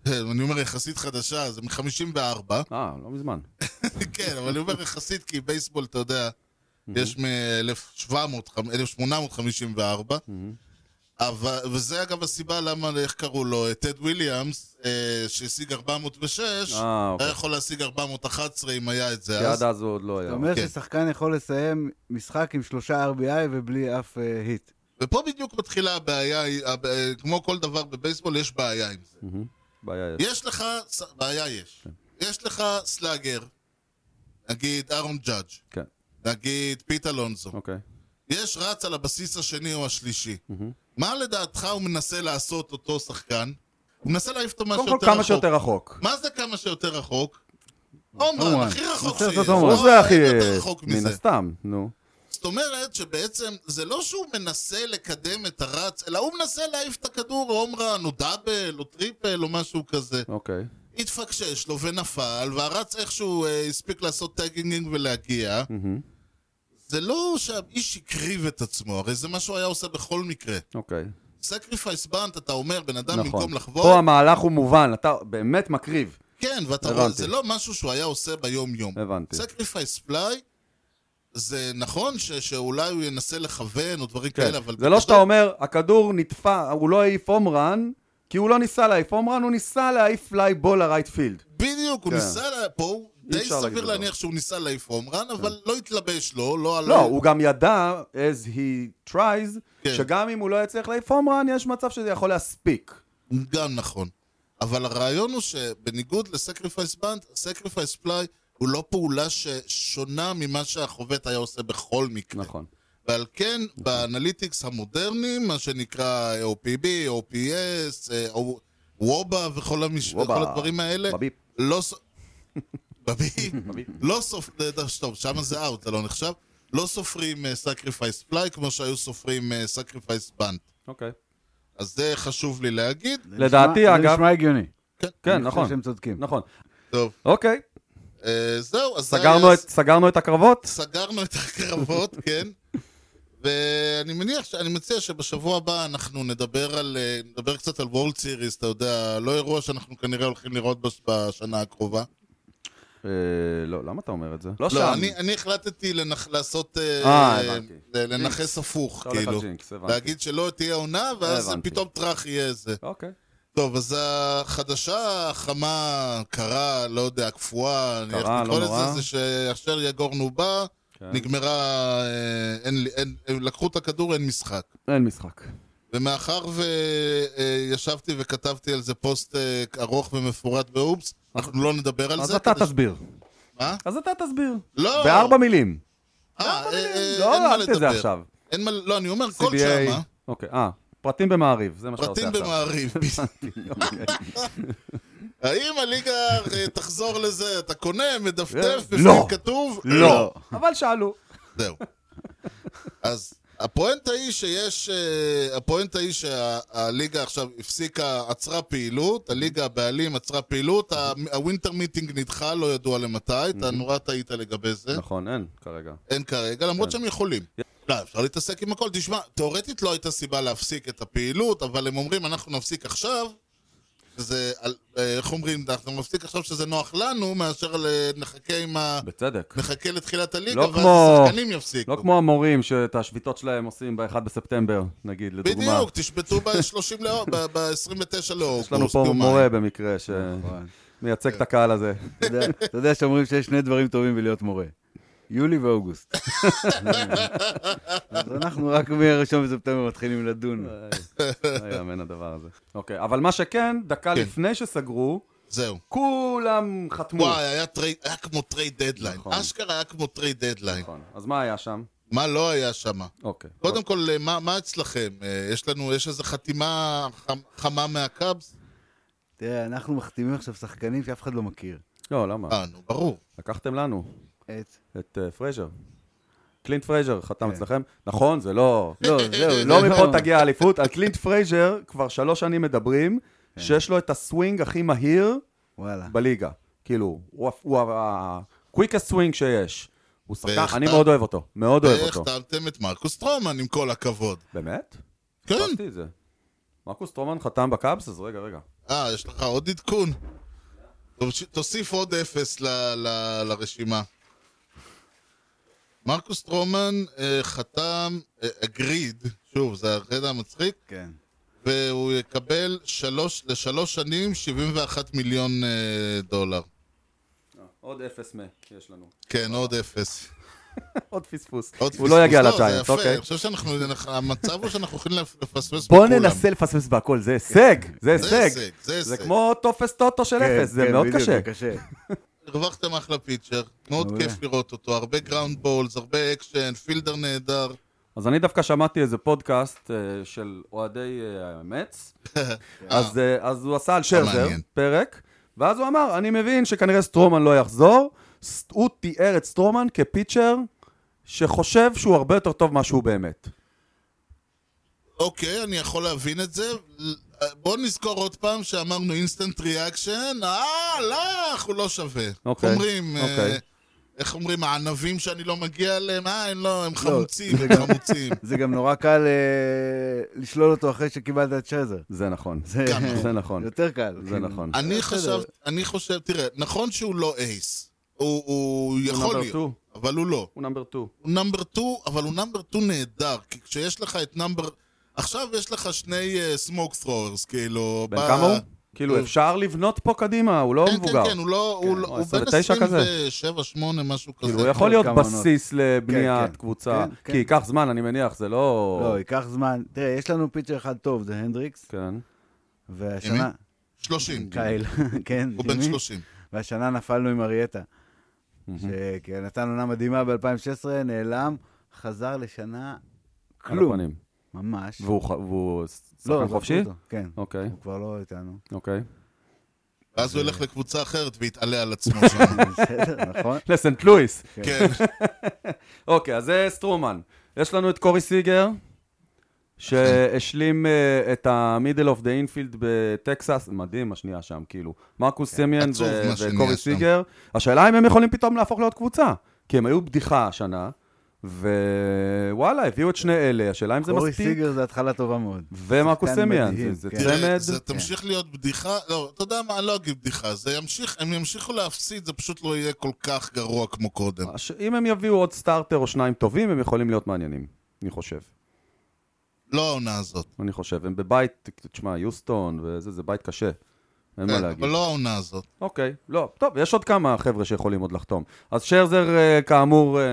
[SPEAKER 1] אה, אני אומר יחסית חדשה, זה מ-54,
[SPEAKER 2] אה, לא מזמן.
[SPEAKER 1] כן, אבל אני אומר יחסית כי בייסבול, אתה יודע, יש מ-1854, וזה אגב הסיבה למה, איך קראו לו, אה, טד וויליאמס, אה, שהשיג 406,
[SPEAKER 2] אה, אוקיי.
[SPEAKER 1] היה יכול להשיג 411 אם היה את
[SPEAKER 2] כי
[SPEAKER 1] זה
[SPEAKER 2] עד
[SPEAKER 1] אז.
[SPEAKER 2] אז הוא עוד לא היה.
[SPEAKER 4] זה אומר
[SPEAKER 1] כן.
[SPEAKER 4] ששחקן יכול לסיים משחק עם שלושה RBI ובלי אף אה, היט.
[SPEAKER 1] ופה בדיוק מתחילה הבעיה, הב- אה, כמו כל דבר בבייסבול, יש בעיה עם זה.
[SPEAKER 2] מהמם. בעיה יש.
[SPEAKER 1] יש לך, ס- בעיה
[SPEAKER 2] כן.
[SPEAKER 1] יש. יש לך סלאגר, נגיד אהרון ג'אדג',
[SPEAKER 2] כן,
[SPEAKER 1] נגיד פיט אלונזו,
[SPEAKER 2] אוקיי.
[SPEAKER 1] יש רץ על הבסיס השני או השלישי. מה לדעתך הוא מנסה לעשות אותו שחקן? הוא מנסה להעיף אותו מה
[SPEAKER 2] קודם
[SPEAKER 1] שיותר
[SPEAKER 2] כל
[SPEAKER 1] רחוק.
[SPEAKER 2] כמה שיותר רחוק.
[SPEAKER 1] מה זה כמה שיותר רחוק? עומרן,
[SPEAKER 4] עומרן.
[SPEAKER 1] הכי רחוק
[SPEAKER 4] רוצה
[SPEAKER 1] שיש.
[SPEAKER 4] לעשות
[SPEAKER 1] לא,
[SPEAKER 4] עומרן.
[SPEAKER 2] נו, זה הכי...
[SPEAKER 1] אין יותר רחוק
[SPEAKER 2] מן
[SPEAKER 1] מזה.
[SPEAKER 2] הסתם, נו.
[SPEAKER 1] זאת אומרת שבעצם זה לא שהוא מנסה לקדם את הרץ, אלא הוא מנסה להעיף את הכדור או עומרן, או דאבל, או טריפל, או משהו כזה.
[SPEAKER 2] אוקיי.
[SPEAKER 1] התפקשש לו ונפל, והרץ איכשהו אה, הספיק לעשות טאגינג ולהגיע.
[SPEAKER 2] מהמם.
[SPEAKER 1] זה לא שהאיש הקריב את עצמו, הרי זה מה שהוא היה עושה בכל מקרה.
[SPEAKER 2] אוקיי.
[SPEAKER 1] סקריפייס בנט, אתה אומר, בן אדם
[SPEAKER 2] נכון.
[SPEAKER 1] במקום לחבור,
[SPEAKER 2] פה המהלך הוא מובן, אתה באמת מקריב.
[SPEAKER 1] כן, ואתה
[SPEAKER 2] הבנתי.
[SPEAKER 1] רואה, זה לא משהו שהוא היה עושה ביום-יום.
[SPEAKER 2] הבנתי.
[SPEAKER 1] סקריפייס פליי, זה נכון ש- שאולי הוא ינסה לכוון או דברים
[SPEAKER 2] כן.
[SPEAKER 1] כאלה, אבל...
[SPEAKER 2] זה לא שאתה
[SPEAKER 1] בגדול-
[SPEAKER 2] אומר, הכדור נטפע, הוא לא העיף הום רן, כי הוא לא ניסה להעיף הום רן, הוא ניסה להעיף פליי בול לרייט פילד.
[SPEAKER 1] בדיוק, הוא
[SPEAKER 2] כן.
[SPEAKER 1] ניסה, לה- פה הוא
[SPEAKER 2] אי
[SPEAKER 1] די
[SPEAKER 2] אפשר
[SPEAKER 1] סביר
[SPEAKER 2] להגיד דבר. כן.
[SPEAKER 1] להניח שהוא ניסה להעיף הומרן, אבל לא התלבש לו, לא עלה...
[SPEAKER 2] לא, הוא גם ידע, as he tries,
[SPEAKER 1] כן.
[SPEAKER 2] שגם אם הוא לא יצליח להעיף הום רן, יש מצב שזה יכול להספיק.
[SPEAKER 1] גם נכון. אבל הרעיון הוא שבניגוד לסקריפייס בנט, סקריפייס פליי הוא לא פעולה ששונה ממה שהחובט היה עושה בכל מקרה.
[SPEAKER 2] נכון.
[SPEAKER 1] ועל כן, באנליטיקס המודרניים, מה שנקרא OPB, OPS, אה, או- וובה וכל המש...
[SPEAKER 2] וובה.
[SPEAKER 1] כל הדברים האלה,
[SPEAKER 2] בביפ.
[SPEAKER 1] לא... ס- בביפ.
[SPEAKER 2] בביפ.
[SPEAKER 1] לא סופרים, טוב, שם זה אאוט, זה לא נחשב. לא סופרים סקריפייס פליי כמו שהיו סופרים אה, סקריפייס בנט.
[SPEAKER 2] אוקיי.
[SPEAKER 1] אז זה חשוב לי להגיד.
[SPEAKER 2] לדעתי,
[SPEAKER 4] נשמע-
[SPEAKER 2] אגב-
[SPEAKER 4] זה נשמע הגיוני.
[SPEAKER 2] כן,
[SPEAKER 4] אני
[SPEAKER 2] נכון.
[SPEAKER 4] חושב שהם צודקים.
[SPEAKER 2] נכון.
[SPEAKER 1] טוב,
[SPEAKER 2] אוקיי,
[SPEAKER 1] אה, זהו, אז זה
[SPEAKER 2] סגרנו
[SPEAKER 1] היה-
[SPEAKER 2] את- סגרנו את הקרבות?
[SPEAKER 1] סגרנו את הקרבות, כן. ואני מניח, ש- אני מציע שבשבוע הבא אנחנו נדבר על, אה, נדבר קצת על וולד סיריס, אתה יודע, לא אירוע שאנחנו כנראה הולכים לראות בש- בשנה הקרובה.
[SPEAKER 2] אה, לא, למה אתה אומר את זה? לא
[SPEAKER 1] לא,
[SPEAKER 2] שם.
[SPEAKER 1] אני, אני החלטתי לנח, לעשות, אה,
[SPEAKER 2] אה, הבנתי.
[SPEAKER 1] ל- לנכס הפוך,
[SPEAKER 2] אתה הולך על
[SPEAKER 1] כאילו.
[SPEAKER 2] ג'ינקס, הבנתי.
[SPEAKER 1] להגיד שלא תהיה עונה, ואז
[SPEAKER 2] הבנתי.
[SPEAKER 1] פתאום טראח יהיה זה.
[SPEAKER 2] אוקיי.
[SPEAKER 1] טוב, אז החדשה, החמה, קרה, לא יודע, קפואה,
[SPEAKER 2] קרה,
[SPEAKER 1] איך נקרא
[SPEAKER 2] לא נורא. כן.
[SPEAKER 1] לזה, זה שאשר יגורנו בא, נגמרה, אה, אין, אין, אה, לקחו את הכדור, אין משחק.
[SPEAKER 2] אין משחק.
[SPEAKER 1] ומאחר וישבתי וכתבתי על זה פוסט אה, ארוך ומפורט באופס, אנחנו לא נדבר על
[SPEAKER 2] אז
[SPEAKER 1] זה.
[SPEAKER 2] אתה
[SPEAKER 1] כדי ש-
[SPEAKER 2] תסביר.
[SPEAKER 1] מה?
[SPEAKER 2] אז אתה תסביר.
[SPEAKER 1] לא.
[SPEAKER 2] בארבע מילים.
[SPEAKER 1] אה, אה, אה,
[SPEAKER 2] לא,
[SPEAKER 1] אין מה
[SPEAKER 2] אל תזה
[SPEAKER 1] לדבר.
[SPEAKER 2] עכשיו.
[SPEAKER 1] אין מה, לא, אני אומר כל
[SPEAKER 2] CBA.
[SPEAKER 1] שמה,
[SPEAKER 2] אוקיי, אה, פרטים במעריב, זה מה שאתה עושה
[SPEAKER 1] פרטים
[SPEAKER 2] עכשיו. אוקיי.
[SPEAKER 1] במעריב. האם הליגה אה, תחזור לזה, אתה קונה, מדפדף, בפנים
[SPEAKER 2] לא.
[SPEAKER 1] כתוב?
[SPEAKER 2] לא. אבל שאלו.
[SPEAKER 1] זהו. אז הפואנטה היא שיש, אה, הפואנטה היא שהליגה עכשיו הפסיקה, עצרה פעילות, הליגה הבעלים עצרה פעילות, ה- הווינטר מיטינג נדחה, לא ידוע למתי, אתה נורא טעית לגבי זה,
[SPEAKER 2] נכון, אין כרגע.
[SPEAKER 1] אין כרגע,
[SPEAKER 2] כן.
[SPEAKER 1] למרות שהם יכולים. לא, אפשר להתעסק עם הכל. תשמע, תאורטית לא הייתה סיבה להפסיק את הפעילות, אבל הם אומרים, אנחנו נפסיק עכשיו. זה, על- אה, איך אומרים, אנחנו נפסיק עכשיו שזה נוח לנו, מאשר ל- נחכה עם ה...
[SPEAKER 2] בצדק.
[SPEAKER 1] נחכה לתחילת הליגה,
[SPEAKER 2] לא
[SPEAKER 1] ואז
[SPEAKER 2] כמו-
[SPEAKER 1] השחקנים יפסיקו.
[SPEAKER 2] לא כמו המורים שאת השביתות שלהם עושים ב-1 בספטמבר, נגיד, לדוגמה.
[SPEAKER 1] בדיוק, תשבתו ב-30 לאוגוסט, ב-29 לאוגוסט.
[SPEAKER 2] יש לנו פה
[SPEAKER 1] יומיים.
[SPEAKER 2] מורה במקרה
[SPEAKER 1] נכון.
[SPEAKER 2] נכון.
[SPEAKER 1] כן.
[SPEAKER 2] שמייצג את הקהל הזה.
[SPEAKER 4] אתה יודע- אתה יודע שאומרים שיש שני דברים טובים בלהיות מורה. יולי ואוגוסט. אז אנחנו רק מ-1 בספטמבר מתחילים לדון.
[SPEAKER 2] לא יאמן הדבר הזה. אוקיי, אבל מה שכן,
[SPEAKER 1] כן.
[SPEAKER 2] דקה לפני שסגרו,
[SPEAKER 1] זהו.
[SPEAKER 2] כולם חתמו.
[SPEAKER 1] וואי, היה טרייד- היה כמו טרייד דדליין.
[SPEAKER 2] נכון.
[SPEAKER 1] אשכרה היה כמו טרייד דדליין.
[SPEAKER 2] נכון. אז מה היה שם?
[SPEAKER 1] מה לא היה שם?
[SPEAKER 2] אוקיי.
[SPEAKER 1] קודם כל, אה, מה מה אצלכם? אה, יש לנו, יש איזו חתימה חם- חמה מהקאבס?
[SPEAKER 4] תראה, אנחנו מחתימים עכשיו שחקנים שאף אחד לא מכיר.
[SPEAKER 2] לא, למה?
[SPEAKER 1] אה, נו, ברור.
[SPEAKER 2] לקחתם לנו
[SPEAKER 4] את...
[SPEAKER 2] את אה, פרייזר. קלינט פרייזר חתם
[SPEAKER 1] כן.
[SPEAKER 2] אצלכם. נכון, זה לא...
[SPEAKER 4] לא,
[SPEAKER 1] אה,
[SPEAKER 4] זהו,
[SPEAKER 2] לא
[SPEAKER 4] זה
[SPEAKER 2] מפה תגיע האליפות. על קלינט פרייזר כבר שלוש שנים מדברים,
[SPEAKER 1] כן.
[SPEAKER 2] שיש לו את הסווינג הכי מהיר
[SPEAKER 4] וואלה.
[SPEAKER 2] בליגה. כאילו, הוא ה- הוא ה-quickest swing שיש. הוא שחקן,
[SPEAKER 1] ואיך
[SPEAKER 2] אני
[SPEAKER 1] אתה-
[SPEAKER 2] מאוד אוהב אותו. מאוד לא אוהב אותו.
[SPEAKER 1] החתמתם את מרקוס טרומן, עם כל הכבוד.
[SPEAKER 2] באמת?
[SPEAKER 1] כן.
[SPEAKER 2] פספסתי את זה. מרקוס טרומן חתם בקאבס, אז רגע, רגע.
[SPEAKER 1] אה, יש לך עוד עדכון. תוש- תוסיף עוד אפס ל- ל- לרשימה. מרקוס טרומן אה, חתם אגריד, שוב, זה החטא המצחיק,
[SPEAKER 4] כן.
[SPEAKER 1] והוא יקבל שלוש, לשלוש שנים 71 מיליון אה, דולר.
[SPEAKER 2] עוד אפס מה יש לנו.
[SPEAKER 1] כן, עוד אפס.
[SPEAKER 2] עוד פספוס.
[SPEAKER 1] עוד
[SPEAKER 2] הוא לא יגיע
[SPEAKER 1] פספוס. זה
[SPEAKER 2] לגיינטס,
[SPEAKER 1] יפה.
[SPEAKER 2] אוקיי.
[SPEAKER 1] אני חושב שאנחנו, המצב הוא שאנחנו יכולים לפספס
[SPEAKER 2] בוא
[SPEAKER 1] בכולם.
[SPEAKER 2] ננסה לפספס בהכל, זה הישג, זה
[SPEAKER 1] כן. זה
[SPEAKER 2] הישג.
[SPEAKER 1] הישג, זה
[SPEAKER 2] זה
[SPEAKER 1] הישג.
[SPEAKER 2] כמו טופס טוטו של
[SPEAKER 4] כן,
[SPEAKER 2] אפס, זה
[SPEAKER 4] כן,
[SPEAKER 2] מאוד
[SPEAKER 4] בדיוק,
[SPEAKER 2] קשה.
[SPEAKER 4] זה קשה.
[SPEAKER 1] הרווחתם אחלה פיצ'ר, מאוד
[SPEAKER 4] מעולה.
[SPEAKER 1] כיף לראות אותו, הרבה גראונד בולס, הרבה אקשן, פילדר נהדר.
[SPEAKER 2] אז אני דווקא שמעתי איזה פודקאסט אה, של אוהדי אה, המץ, אז, אה, אז הוא עשה על שרזר
[SPEAKER 1] לא מעניין.
[SPEAKER 2] פרק, ואז הוא אמר, אני מבין שכנראה סטרומן לא יחזור, ס- הוא תיאר את סטרומן כפיצ'ר שחושב שהוא הרבה יותר טוב מה שהוא באמת.
[SPEAKER 1] אוקיי, אני יכול להבין את זה. בוא נזכור עוד פעם שאמרנו אינסטנט ריאקשן, אה, לך, הוא לא שווה.
[SPEAKER 2] אוקיי,
[SPEAKER 1] איך אומרים, אה,
[SPEAKER 2] אוקיי.
[SPEAKER 1] איך אומרים, הענבים שאני לא מגיע אליהם, אה, הם לא, הם חמוצים, הם חמוצים.
[SPEAKER 4] זה גם נורא קל אה, לשלול אותו אחרי שקיבלת את שרזר.
[SPEAKER 2] זה נכון.
[SPEAKER 1] גם
[SPEAKER 2] זה נכון.
[SPEAKER 4] יותר קל.
[SPEAKER 2] זה
[SPEAKER 4] כאילו.
[SPEAKER 2] נכון.
[SPEAKER 1] אני
[SPEAKER 4] בסדר.
[SPEAKER 1] חשב, אני חושב, תראה, נכון שהוא לא אייס. הוא, הוא יכול
[SPEAKER 2] number
[SPEAKER 1] להיות, אבל הוא לא.
[SPEAKER 2] הוא נאמבר 2.
[SPEAKER 1] הוא נאמבר 2, אבל הוא נאמבר 2 נהדר, כי כשיש לך את נאמבר... עכשיו יש לך שני סמוק ת'רורס, כאילו...
[SPEAKER 2] בן
[SPEAKER 1] ב-
[SPEAKER 2] כמה הוא? כאילו, אפשר לבנות פה קדימה, הוא לא
[SPEAKER 1] כן,
[SPEAKER 2] מבוגר.
[SPEAKER 1] כן, כן, הוא לא... הוא לא-
[SPEAKER 2] הוא
[SPEAKER 1] הוא בן
[SPEAKER 2] 29 כזה.
[SPEAKER 1] 27, 8, משהו כזה.
[SPEAKER 2] כאילו, הוא יכול להיות
[SPEAKER 4] כמה עונות.
[SPEAKER 2] בסיס
[SPEAKER 4] כן,
[SPEAKER 2] לבניית
[SPEAKER 4] כן.
[SPEAKER 2] קבוצה,
[SPEAKER 4] כן, כן.
[SPEAKER 2] כי ייקח זמן, אני מניח, זה
[SPEAKER 4] לא,
[SPEAKER 2] לא...
[SPEAKER 4] ייקח זמן. תראה, יש לנו פיצ'ר אחד טוב, זה הנדריקס,
[SPEAKER 2] כן.
[SPEAKER 4] והשנה...
[SPEAKER 1] 30.
[SPEAKER 2] אוקיי.
[SPEAKER 4] קייל, כן,
[SPEAKER 1] הוא בן
[SPEAKER 4] ג'ימי.
[SPEAKER 1] 30.
[SPEAKER 4] והשנה נפלנו עם אריאטה. שנתן עונה מדהימה ב-2016, נעלם, חזר לשנה
[SPEAKER 2] על
[SPEAKER 4] כלום.
[SPEAKER 2] הפנים.
[SPEAKER 4] ממש.
[SPEAKER 2] והוא ח- והוא
[SPEAKER 4] לא,
[SPEAKER 2] שחקן
[SPEAKER 4] זרקו
[SPEAKER 2] חופשי?
[SPEAKER 4] אותו, כן.
[SPEAKER 2] אוקיי,
[SPEAKER 4] הוא כבר לא איתנו.
[SPEAKER 2] אוקיי.
[SPEAKER 1] ואז הוא ילך לקבוצה אחרת ויתעלה על עצמו שם.
[SPEAKER 4] בסדר, נכון?
[SPEAKER 2] לסנט לואיס.
[SPEAKER 1] כן.
[SPEAKER 2] אוקיי, אז זה סטרומן. יש לנו את קורי סיגר, שהשלים אה, את המידל אוף דה אינפילד בטקסס, מדהים השנייה שם, כאילו. מרקוס
[SPEAKER 4] כן,
[SPEAKER 2] סמיאן
[SPEAKER 1] עצוב
[SPEAKER 2] ו-
[SPEAKER 1] מה שנהיה
[SPEAKER 2] וקורי
[SPEAKER 1] שם.
[SPEAKER 2] סיגר. השאלה אם הם יכולים פתאום להפוך להיות קבוצה, כי הם היו בדיחה השנה, ווואלה, הביאו את שני אלה, השאלה אם זה
[SPEAKER 4] קורי
[SPEAKER 2] מספיק.
[SPEAKER 4] סיגר זה התחלה טובה מאוד.
[SPEAKER 2] ומרקוס
[SPEAKER 4] שחקן
[SPEAKER 2] סמיאן,
[SPEAKER 4] מדהים,
[SPEAKER 2] זה- זה
[SPEAKER 4] כן.
[SPEAKER 1] תראה,
[SPEAKER 2] צמד.
[SPEAKER 1] זה תמשיך להיות בדיחה, לא, אתה יודע מה, אני לא אגיד בדיחה, זה ימשיך, הם ימשיכו להפסיד, זה פשוט לא יהיה כל כך גרוע כמו קודם.
[SPEAKER 2] הש- אם הם יביאו עוד סטארטר או שניים טובים, הם יכולים להיות מעניינים, אני חושב.
[SPEAKER 1] לא העונה הזאת.
[SPEAKER 2] אני חושב. הם בבית, תשמע, יוסטון וזה, זה בית קשה. אין מה
[SPEAKER 1] כן,
[SPEAKER 2] להגיד.
[SPEAKER 1] אבל לא העונה הזאת.
[SPEAKER 2] אוקיי, לא, טוב, יש עוד כמה חבר'ה שיכולים עוד לחתום. אז שרזר, אה, כאמור, אה,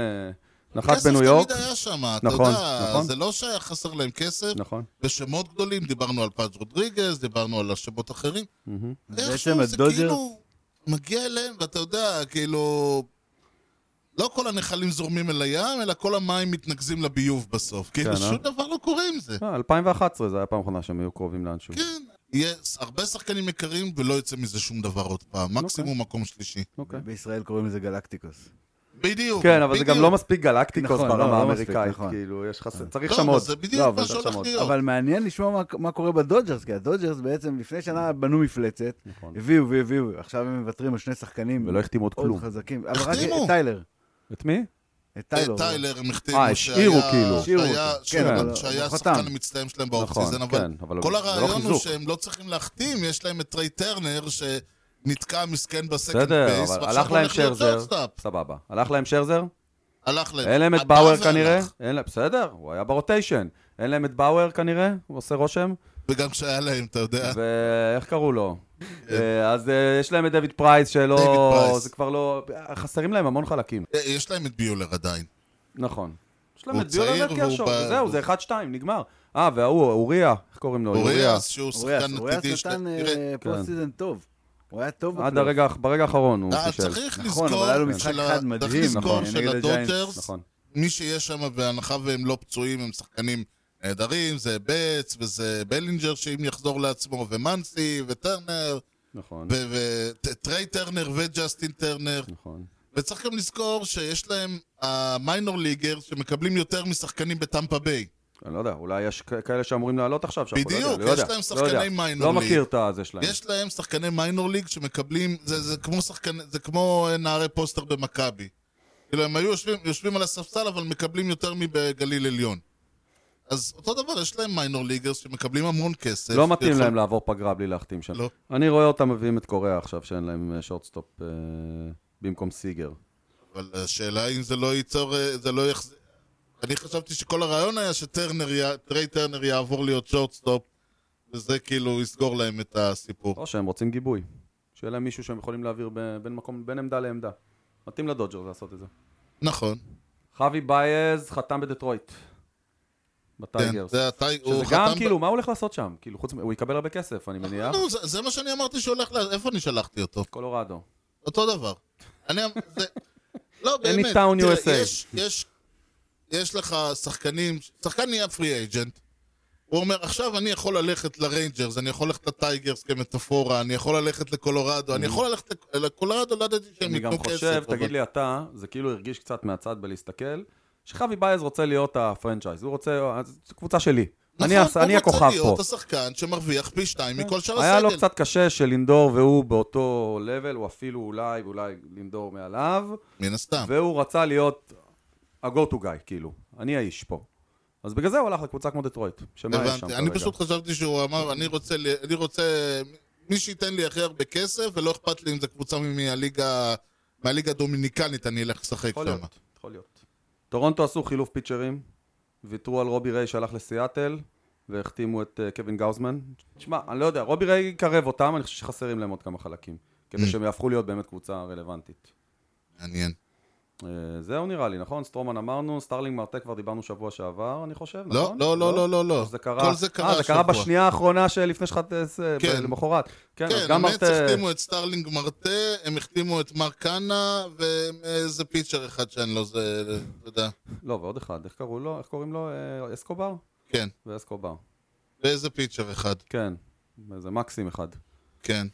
[SPEAKER 2] נחת בניו יורק.
[SPEAKER 1] כסף תמיד היה שם, אתה
[SPEAKER 2] נכון,
[SPEAKER 1] יודע,
[SPEAKER 2] נכון.
[SPEAKER 1] זה לא שהיה חסר להם כסף.
[SPEAKER 2] נכון.
[SPEAKER 1] בשמות גדולים, דיברנו על פאז רודריגז, דיברנו על השמות אחרים. איכשהו זה
[SPEAKER 4] הדודג'רס-
[SPEAKER 1] כאילו מגיע אליהם, ואתה יודע, כאילו... לא כל הנחלים זורמים אל הים, אלא כל המים מתנקזים לביוב בסוף. כאילו,
[SPEAKER 2] אה?
[SPEAKER 1] שום דבר לא קורה עם זה.
[SPEAKER 2] אה, 2011 זה היה פעם אחרונה שהם היו קרובים לאנשהו.
[SPEAKER 1] כן, יהיה הרבה שחקנים יקרים, ולא יוצא מזה שום דבר עוד פעם. מקסימום מקום שלישי.
[SPEAKER 2] אוקיי.
[SPEAKER 4] בישראל קוראים לזה גלקטיקוס.
[SPEAKER 1] בדיוק,
[SPEAKER 2] כן, אבל זה גם
[SPEAKER 1] בדיוק.
[SPEAKER 2] לא מספיק גלקטיקוס
[SPEAKER 4] נכון, לא,
[SPEAKER 2] ברמה
[SPEAKER 4] לא מספיק,
[SPEAKER 2] האמריקאית,
[SPEAKER 4] נכון.
[SPEAKER 2] כאילו, יש לך... צריך
[SPEAKER 1] לא,
[SPEAKER 2] שם
[SPEAKER 1] אבל
[SPEAKER 2] עוד.
[SPEAKER 1] זה בדיוק
[SPEAKER 2] לא, אבל
[SPEAKER 1] מה
[SPEAKER 2] צריך
[SPEAKER 1] שהולך
[SPEAKER 2] שם עוד.
[SPEAKER 1] להיות.
[SPEAKER 4] אבל מעניין לשמוע מה, מה קורה בדודג'רס, כי הדודג'רס בעצם לפני שנה בנו מפלצת,
[SPEAKER 2] נכון.
[SPEAKER 4] הביאו והביאו, עכשיו הם מוותרים על שני שחקנים.
[SPEAKER 2] ולא החתימו עוד כלום.
[SPEAKER 4] חזקים. אבל רק
[SPEAKER 1] החתימו.
[SPEAKER 4] את טיילר.
[SPEAKER 2] את מי?
[SPEAKER 4] את
[SPEAKER 1] אה,
[SPEAKER 4] טיילר.
[SPEAKER 1] טיילר הם החתימו
[SPEAKER 2] אה, השאירו
[SPEAKER 1] שהיה-
[SPEAKER 2] כאילו.
[SPEAKER 4] השאירו
[SPEAKER 1] שהיה-
[SPEAKER 4] אותו.
[SPEAKER 1] שהיה-
[SPEAKER 2] כן, אבל
[SPEAKER 1] שהיה
[SPEAKER 4] הוא
[SPEAKER 1] השחקן
[SPEAKER 4] חתם.
[SPEAKER 1] המציזן שלהם
[SPEAKER 2] נכון,
[SPEAKER 1] באופסיזן, אבל
[SPEAKER 2] כן, אבל
[SPEAKER 1] כל
[SPEAKER 2] זה לא
[SPEAKER 1] הרעיון הוא
[SPEAKER 2] חיזוק.
[SPEAKER 1] שהם לא צריכים להחתים, יש להם את טריי טרנר שנתקע מסכן בסקנד
[SPEAKER 2] בסדר,
[SPEAKER 1] בייס,
[SPEAKER 2] אבל
[SPEAKER 1] ועכשיו
[SPEAKER 2] הלך להם
[SPEAKER 1] הולך להיות
[SPEAKER 2] שרזר,
[SPEAKER 1] ג'ורסטאפ.
[SPEAKER 2] סבבה. הלך להם שרזר?
[SPEAKER 1] הלך להם.
[SPEAKER 2] אין להם את
[SPEAKER 1] הבא
[SPEAKER 2] באואר
[SPEAKER 1] והלך.
[SPEAKER 2] כנראה? אין להם, בסדר, הוא היה ברוטיישן. אין להם את באואר כנראה? הוא עושה רושם?
[SPEAKER 1] וגם כשהיה להם, אתה יודע.
[SPEAKER 2] ואיך קראו לו? אה, אז אה, יש להם את דויד פרייס שלא...
[SPEAKER 1] דויד פרייס.
[SPEAKER 2] זה כבר לא... חסרים להם המון חלקים.
[SPEAKER 1] אה, יש להם את ביולר עדיין.
[SPEAKER 2] נכון. יש להם
[SPEAKER 1] הוא
[SPEAKER 2] את ביולר
[SPEAKER 1] צעיר והוא
[SPEAKER 2] וקרשו,
[SPEAKER 1] ב-
[SPEAKER 2] וזהו, זה 1-2, נגמר. אה, וההוא, אוריה, איך קוראים לו?
[SPEAKER 1] אוריאס, שהוא
[SPEAKER 4] אוריאס,
[SPEAKER 1] שחקן
[SPEAKER 4] אוריאס
[SPEAKER 1] עתידי שלהם.
[SPEAKER 4] נתן
[SPEAKER 2] אה,
[SPEAKER 1] תראה,
[SPEAKER 4] פוסט סיזן אה, טוב. הוא היה טוב
[SPEAKER 2] כן. עד
[SPEAKER 4] בפלייאוף.
[SPEAKER 2] הרגע, ברגע האחרון הוא
[SPEAKER 1] אה,
[SPEAKER 2] פישל.
[SPEAKER 1] צריך
[SPEAKER 4] נכון,
[SPEAKER 1] לזכור
[SPEAKER 4] אבל היה לו משחק
[SPEAKER 1] של
[SPEAKER 4] אחד
[SPEAKER 1] ה- צריך
[SPEAKER 4] מדהים,
[SPEAKER 1] לזכור
[SPEAKER 4] נכון,
[SPEAKER 1] של
[SPEAKER 4] נגד הג'יינטס,
[SPEAKER 1] הדודג'רס,
[SPEAKER 2] נכון.
[SPEAKER 1] מי שיש שם, בהנחה והם לא פצועים, הם שחקנים נהדרים, זה בץ, וזה בלינג'ר, שאם יחזור לעצמו, ומנסי, וטרנר,
[SPEAKER 2] נכון,
[SPEAKER 1] וטריי טרנר וג'סטין טרנר.
[SPEAKER 2] נכון.
[SPEAKER 1] וצריך גם לזכור שיש להם המיינור ליגר שמקבלים יותר משחקנים בטמפה ביי.
[SPEAKER 2] אני לא יודע, אולי יש כ- כאלה שאמורים לעלות עכשיו, שאנחנו לא
[SPEAKER 1] בדיוק,
[SPEAKER 2] יודע, לא
[SPEAKER 1] יש
[SPEAKER 2] יודע,
[SPEAKER 1] להם
[SPEAKER 2] לא יודע.
[SPEAKER 1] שחקני מיינור
[SPEAKER 2] לא
[SPEAKER 1] ליג.
[SPEAKER 2] מכיר את הזה שלהם.
[SPEAKER 1] יש להם שחקני מיינור ליג שמקבלים, זה, זה כמו שחקני, זה כמו אה, נערי פוסטר במכבי. כאילו הם היו יושבים, יושבים על הספסל אבל מקבלים יותר מבגליל עליון. אז אותו דבר, יש להם מיינור ליגרס שמקבלים המון כסף.
[SPEAKER 2] לא מתאים
[SPEAKER 1] ויכול-
[SPEAKER 2] להם לעבור פגרה בלי להחתים שם.
[SPEAKER 1] לא.
[SPEAKER 2] אני רואה אותם מביאים את קוריאה עכשיו, שאין להם אה, שורטסטופ אה, במקום סיגר.
[SPEAKER 1] אבל השאלה אם זה לא ייצור, אה, זה לא יחז... אני חשבתי שכל הרעיון היה שטרנר, י- טריי טרנר יעבור להיות שורטסטופ, וזה כאילו יסגור להם את הסיפור.
[SPEAKER 2] או שהם רוצים גיבוי. שיהיה להם מישהו שהם יכולים להעביר ב- בין מקום, בין עמדה לעמדה. מתאים לדודג'רס לעשות את זה.
[SPEAKER 1] נכון.
[SPEAKER 2] חווי בייז חתם בדטרויט.
[SPEAKER 1] כן,
[SPEAKER 2] בטייגרס.
[SPEAKER 1] זה הטייגר.
[SPEAKER 2] שזה גם כאילו, מה הוא הולך לעשות שם? כאילו, חוץ מ... הוא יקבל הרבה כסף, אני מניח.
[SPEAKER 1] נו, זה- זה מה שאני אמרתי שהולך ל... איפה אני שלחתי אותו?
[SPEAKER 2] קולורדו.
[SPEAKER 1] אותו דבר. אני... אמ- זה... לא, באמת.
[SPEAKER 2] Anytown
[SPEAKER 1] תראה,
[SPEAKER 2] USA.
[SPEAKER 1] יש, יש, יש לך שחקנים, שחקן נהיה פרי אייג'נט. הוא אומר, עכשיו אני יכול ללכת לריינג'רס, אני יכול ללכת לטייגרס כמטאפורה, אני יכול ללכת לקולורדו, אני יכול ללכת לק- לקולורדו, לא ידעתי שהם
[SPEAKER 2] אני גם
[SPEAKER 1] ייתנו כסף.
[SPEAKER 2] חושב,
[SPEAKER 1] אבל-
[SPEAKER 2] תגיד לי אתה, זה כאילו הרגיש קצת מהצד בלהסתכל, שחווי בייז רוצה להיות הפרנצ'ייז, הוא רוצה, אז זו קבוצה שלי. אני הס- אני
[SPEAKER 1] הוא
[SPEAKER 2] הכוכב
[SPEAKER 1] רוצה
[SPEAKER 2] פה.
[SPEAKER 1] נכון,
[SPEAKER 2] כן.
[SPEAKER 1] להיות השחקן שמרוויח פי שתיים מכל שאר הסגל.
[SPEAKER 2] היה לו קצת קשה שלינדור והוא באותו לבל, הוא אפילו אולי, אולי לינדור מעליו,
[SPEAKER 1] מן הסתם.
[SPEAKER 2] והוא רצה להיות ה-go to guy, כאילו. אני האיש פה. אז בגלל זה הוא הלך לקבוצה כמו דטרויט. שמה יש שם
[SPEAKER 1] הבנתי.
[SPEAKER 2] כרגע?
[SPEAKER 1] אני פשוט חשבתי שהוא אמר, אני רוצה, ל- אני רוצה, מי שייתן לי הכי הרבה כסף, ולא אכפת לי אם זו קבוצה מהליגה, מהליגה הדומיניקנית, אני אלך לשחק
[SPEAKER 2] יכול
[SPEAKER 1] שם.
[SPEAKER 2] להיות, יכול להיות. טורונטו עשו חילוף פיצ'רים, ויתרו על רובי ריי שהלך לסיאטל, והחתימו את אה, קווין גאוזמן. תשמע, אני לא יודע, רובי ריי יקרב אותם, אני חושב שחסרים להם עוד כמה חלקים,
[SPEAKER 1] Mm.
[SPEAKER 2] כדי שהם יהפכו להיות באמת קבוצה רלוונטית.
[SPEAKER 1] מעניין.
[SPEAKER 2] אה, זהו נראה לי, נכון? סטרומן אמרנו, סטארלינג מרטה כבר דיברנו שבוע שעבר, אני חושב,
[SPEAKER 1] לא,
[SPEAKER 2] נכון?
[SPEAKER 1] לא, לא, לא, לא, לא.
[SPEAKER 2] זה קרה,
[SPEAKER 1] כל זה קרה
[SPEAKER 2] אה, זה קרה
[SPEAKER 1] השבוע.
[SPEAKER 2] בשנייה האחרונה שלפני שלך,
[SPEAKER 1] כן.
[SPEAKER 2] למחרת. כן, אז
[SPEAKER 1] כן,
[SPEAKER 2] גם
[SPEAKER 1] המץ
[SPEAKER 2] מרטה...
[SPEAKER 1] החתימו את סטארלינג מרטה, הם החתימו את מרק קאנה, ואיזה פיצ'ר אחד שאני לא זה, אתה יודע.
[SPEAKER 2] לא, ועוד אחד, איך קראו לו? איך קוראים לו? אה, אסקובר?
[SPEAKER 1] כן,
[SPEAKER 2] ואסקובר.
[SPEAKER 1] ואיזה פיצ'ר אחד,
[SPEAKER 2] כן, איזה מקסים אחד.
[SPEAKER 1] כן.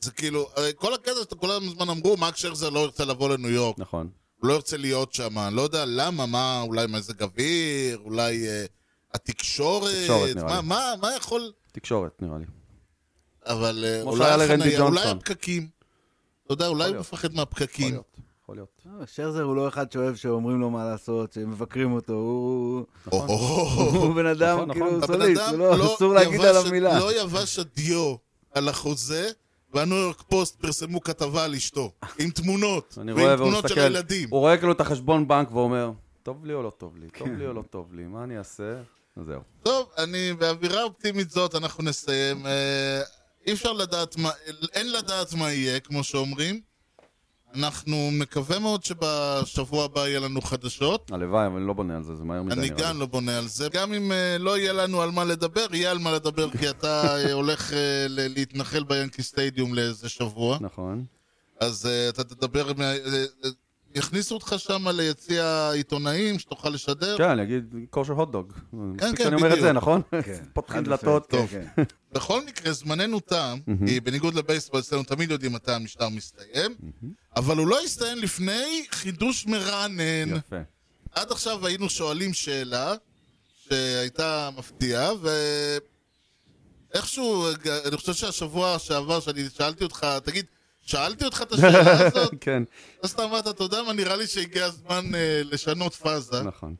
[SPEAKER 1] זה כאילו, הרי כל הקטע שאתה כל הזמן אמרו, מרק שרזר לא ירצה לבוא לניו יורק.
[SPEAKER 2] נכון.
[SPEAKER 1] הוא לא ירצה להיות שם, אני לא יודע למה, מה, אולי מזג אוויר, אולי אה, התקשורת,
[SPEAKER 2] תקשורת, נראה
[SPEAKER 1] מה,
[SPEAKER 2] לי.
[SPEAKER 1] מה, מה יכול,
[SPEAKER 2] תקשורת, נראה לי.
[SPEAKER 1] אבל אה,
[SPEAKER 2] כמו
[SPEAKER 1] אולי
[SPEAKER 2] שהיה לרנדי
[SPEAKER 1] החניה, אולי
[SPEAKER 2] ג'ונסון.
[SPEAKER 1] הפקקים, אתה יודע, אולי הוא
[SPEAKER 2] להיות.
[SPEAKER 1] מפחד
[SPEAKER 2] יכול
[SPEAKER 1] מהפקקים,
[SPEAKER 2] להיות, יכול להיות.
[SPEAKER 4] לא, שרזר הוא לא אחד שאוהב שאומרים לו מה לעשות, שמבקרים אותו, הוא-
[SPEAKER 1] או-הו.
[SPEAKER 4] הוא
[SPEAKER 2] נכון,
[SPEAKER 4] בן אדם כאילו
[SPEAKER 2] נכון.
[SPEAKER 1] הבן
[SPEAKER 4] סוליסט,
[SPEAKER 1] אדם
[SPEAKER 4] הוא לא-
[SPEAKER 1] לא
[SPEAKER 4] אסור להגיד
[SPEAKER 1] יבש-
[SPEAKER 4] עליו מילה.
[SPEAKER 1] לא יבש הדיו על החוזה, והניו יורק פוסט פרסמו כתבה על אשתו, עם תמונות,
[SPEAKER 2] אני רואה
[SPEAKER 1] ועם
[SPEAKER 2] והוא
[SPEAKER 1] תמונות של
[SPEAKER 2] מסתכל,
[SPEAKER 1] הילדים,
[SPEAKER 2] הוא רואה כאילו את החשבון בנק ואומר, טוב לי או לא טוב לי, טוב לי
[SPEAKER 1] כן.
[SPEAKER 2] או לא טוב לי, מה אני אעשה? אז זהו.
[SPEAKER 1] טוב, אני, באווירה אופטימית זאת אנחנו נסיים. אה, אי אפשר לדעת מה, אין לדעת מה יהיה, כמו שאומרים, אנחנו מקווה מאוד שבשבוע הבא יהיה לנו חדשות.
[SPEAKER 2] הלוואי, אבל אני לא בונה על זה, זה מהר מדי.
[SPEAKER 1] אני
[SPEAKER 2] נראה לי.
[SPEAKER 1] גם לא בונה על זה. גם אם אה, לא יהיה לנו על מה לדבר, יהיה על מה לדבר, כי אתה אה, הולך אה, ל- להתנחל ביאנקי סטדיום לאיזה שבוע.
[SPEAKER 2] נכון.
[SPEAKER 1] אז אה, אתה תדבר... מה- אה, אה, יכניסו אותך שם ליציע העיתונאים, שתוכל לשדר.
[SPEAKER 2] כן, אני אגיד כושר הוטדוג. כן,
[SPEAKER 1] כן,
[SPEAKER 2] כן, אומר את
[SPEAKER 1] בדיוק.
[SPEAKER 2] זה, נכון?
[SPEAKER 4] כן.
[SPEAKER 2] פותחים
[SPEAKER 4] חד
[SPEAKER 2] דלתות.
[SPEAKER 4] משמעית,
[SPEAKER 1] טוב.
[SPEAKER 4] כן, כן.
[SPEAKER 1] בכל מקרה, זמננו תם, כי בניגוד לבייסבול, אצלנו תמיד יודעים מתי המשטר מסתיים, אבל הוא לא הסתיים לפני חידוש מרענן.
[SPEAKER 2] יפה.
[SPEAKER 1] עד עכשיו היינו שואלים שאלה שהייתה מפתיעה, ואיכשהו, אני חושב שהשבוע שעבר שאני שאלתי אותך, תגיד, שאלתי אותך את השאלה הזאת?
[SPEAKER 2] כן,
[SPEAKER 1] אז אתה אמרת, אתה יודע מה, נראה לי שהגיע הזמן אה, לשנות פאזה.
[SPEAKER 2] נכון.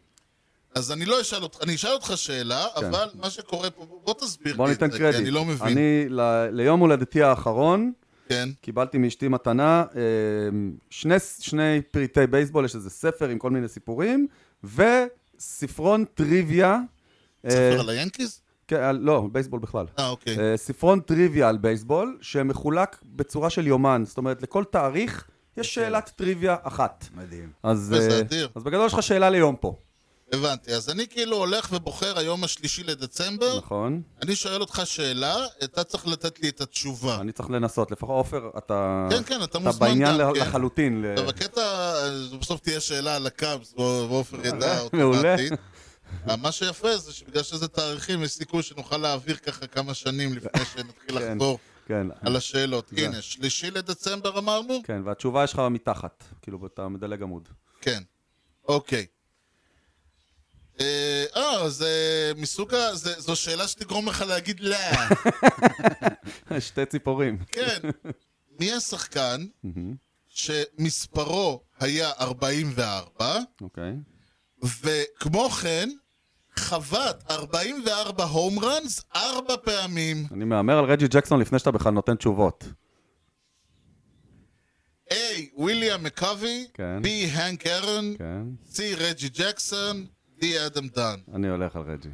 [SPEAKER 1] אז אני לא אשאל אותך, אני אשאל אותך שאלה, אבל מה שקורה פה, בוא תסביר
[SPEAKER 2] כן. בוא
[SPEAKER 1] לי את
[SPEAKER 2] ניתן
[SPEAKER 1] זה, כי
[SPEAKER 2] קרדיט.
[SPEAKER 1] אני לא מבין.
[SPEAKER 2] אני, ל- ליום הולדתי האחרון,
[SPEAKER 1] כן,
[SPEAKER 2] קיבלתי מאשתי מתנה אה, שני, שני פריטי בייסבול, יש איזה ספר עם כל מיני סיפורים, וספרון טריוויה. אה,
[SPEAKER 1] ספר על היאנקיז?
[SPEAKER 2] כן, על- לא, בייסבול בכלל.
[SPEAKER 1] אה, אוקיי.
[SPEAKER 2] אה, ספרון טריוויה על בייסבול, שמחולק בצורה של יומן. זאת אומרת, לכל תאריך
[SPEAKER 1] אוקיי.
[SPEAKER 2] יש שאלת טריוויה אחת.
[SPEAKER 4] מדהים.
[SPEAKER 2] אז,
[SPEAKER 1] וזה
[SPEAKER 2] אה,
[SPEAKER 1] אדיר.
[SPEAKER 2] אז בגדול יש לך שאלה ליום פה,
[SPEAKER 1] הבנתי. אז אני כאילו הולך ובוחר היום השלישי לדצמבר,
[SPEAKER 2] נכון?
[SPEAKER 1] אני שואל אותך שאלה, אתה צריך לתת לי את התשובה.
[SPEAKER 2] אני צריך לנסות. לפחות עופר, אתה...
[SPEAKER 1] כן, כן, אתה
[SPEAKER 2] אתה
[SPEAKER 1] מוזמן גם,
[SPEAKER 2] בעניין
[SPEAKER 1] כן.
[SPEAKER 2] ל- לחלוטין. ל-
[SPEAKER 1] עכשיו, הקטע, אה, בסוף תהיה שאלה על הקאבס, בוא- ועופר ידע
[SPEAKER 2] אה, מעולה.
[SPEAKER 1] אוטומטית. אה, מה שיפה זה שבגלל שזה תאריכים, יש סיכוי שנוכל להעביר ככה כמה שנים לפני שנתחיל
[SPEAKER 2] כן.
[SPEAKER 1] לחזור
[SPEAKER 2] כן,
[SPEAKER 1] על השאלות. הנה, שלישי לדצמבר אמרנו?
[SPEAKER 2] כן, והתשובה יש לך מתחת. כאילו, אתה מדלג עמוד.
[SPEAKER 1] כן. אוקיי. אה, אה, זה מסוג ה... זה- זו שאלה שתגרום לך להגיד לא.
[SPEAKER 2] שתי ציפורים.
[SPEAKER 1] כן. מי השחקן שמספרו היה 44?
[SPEAKER 2] אוקיי.
[SPEAKER 1] וכמו כן, חבט 44 הום ראנס ארבע פעמים.
[SPEAKER 2] אני מהמר על רג'י ג'קסון לפני שאתה בכלל נותן תשובות.
[SPEAKER 1] A. וויליאם מקאבי,
[SPEAKER 2] כן.
[SPEAKER 1] B. הנק ארון,
[SPEAKER 2] כן.
[SPEAKER 1] C. רג'י ג'קסון, D. אדם דן.
[SPEAKER 2] אני הולך על רג'י.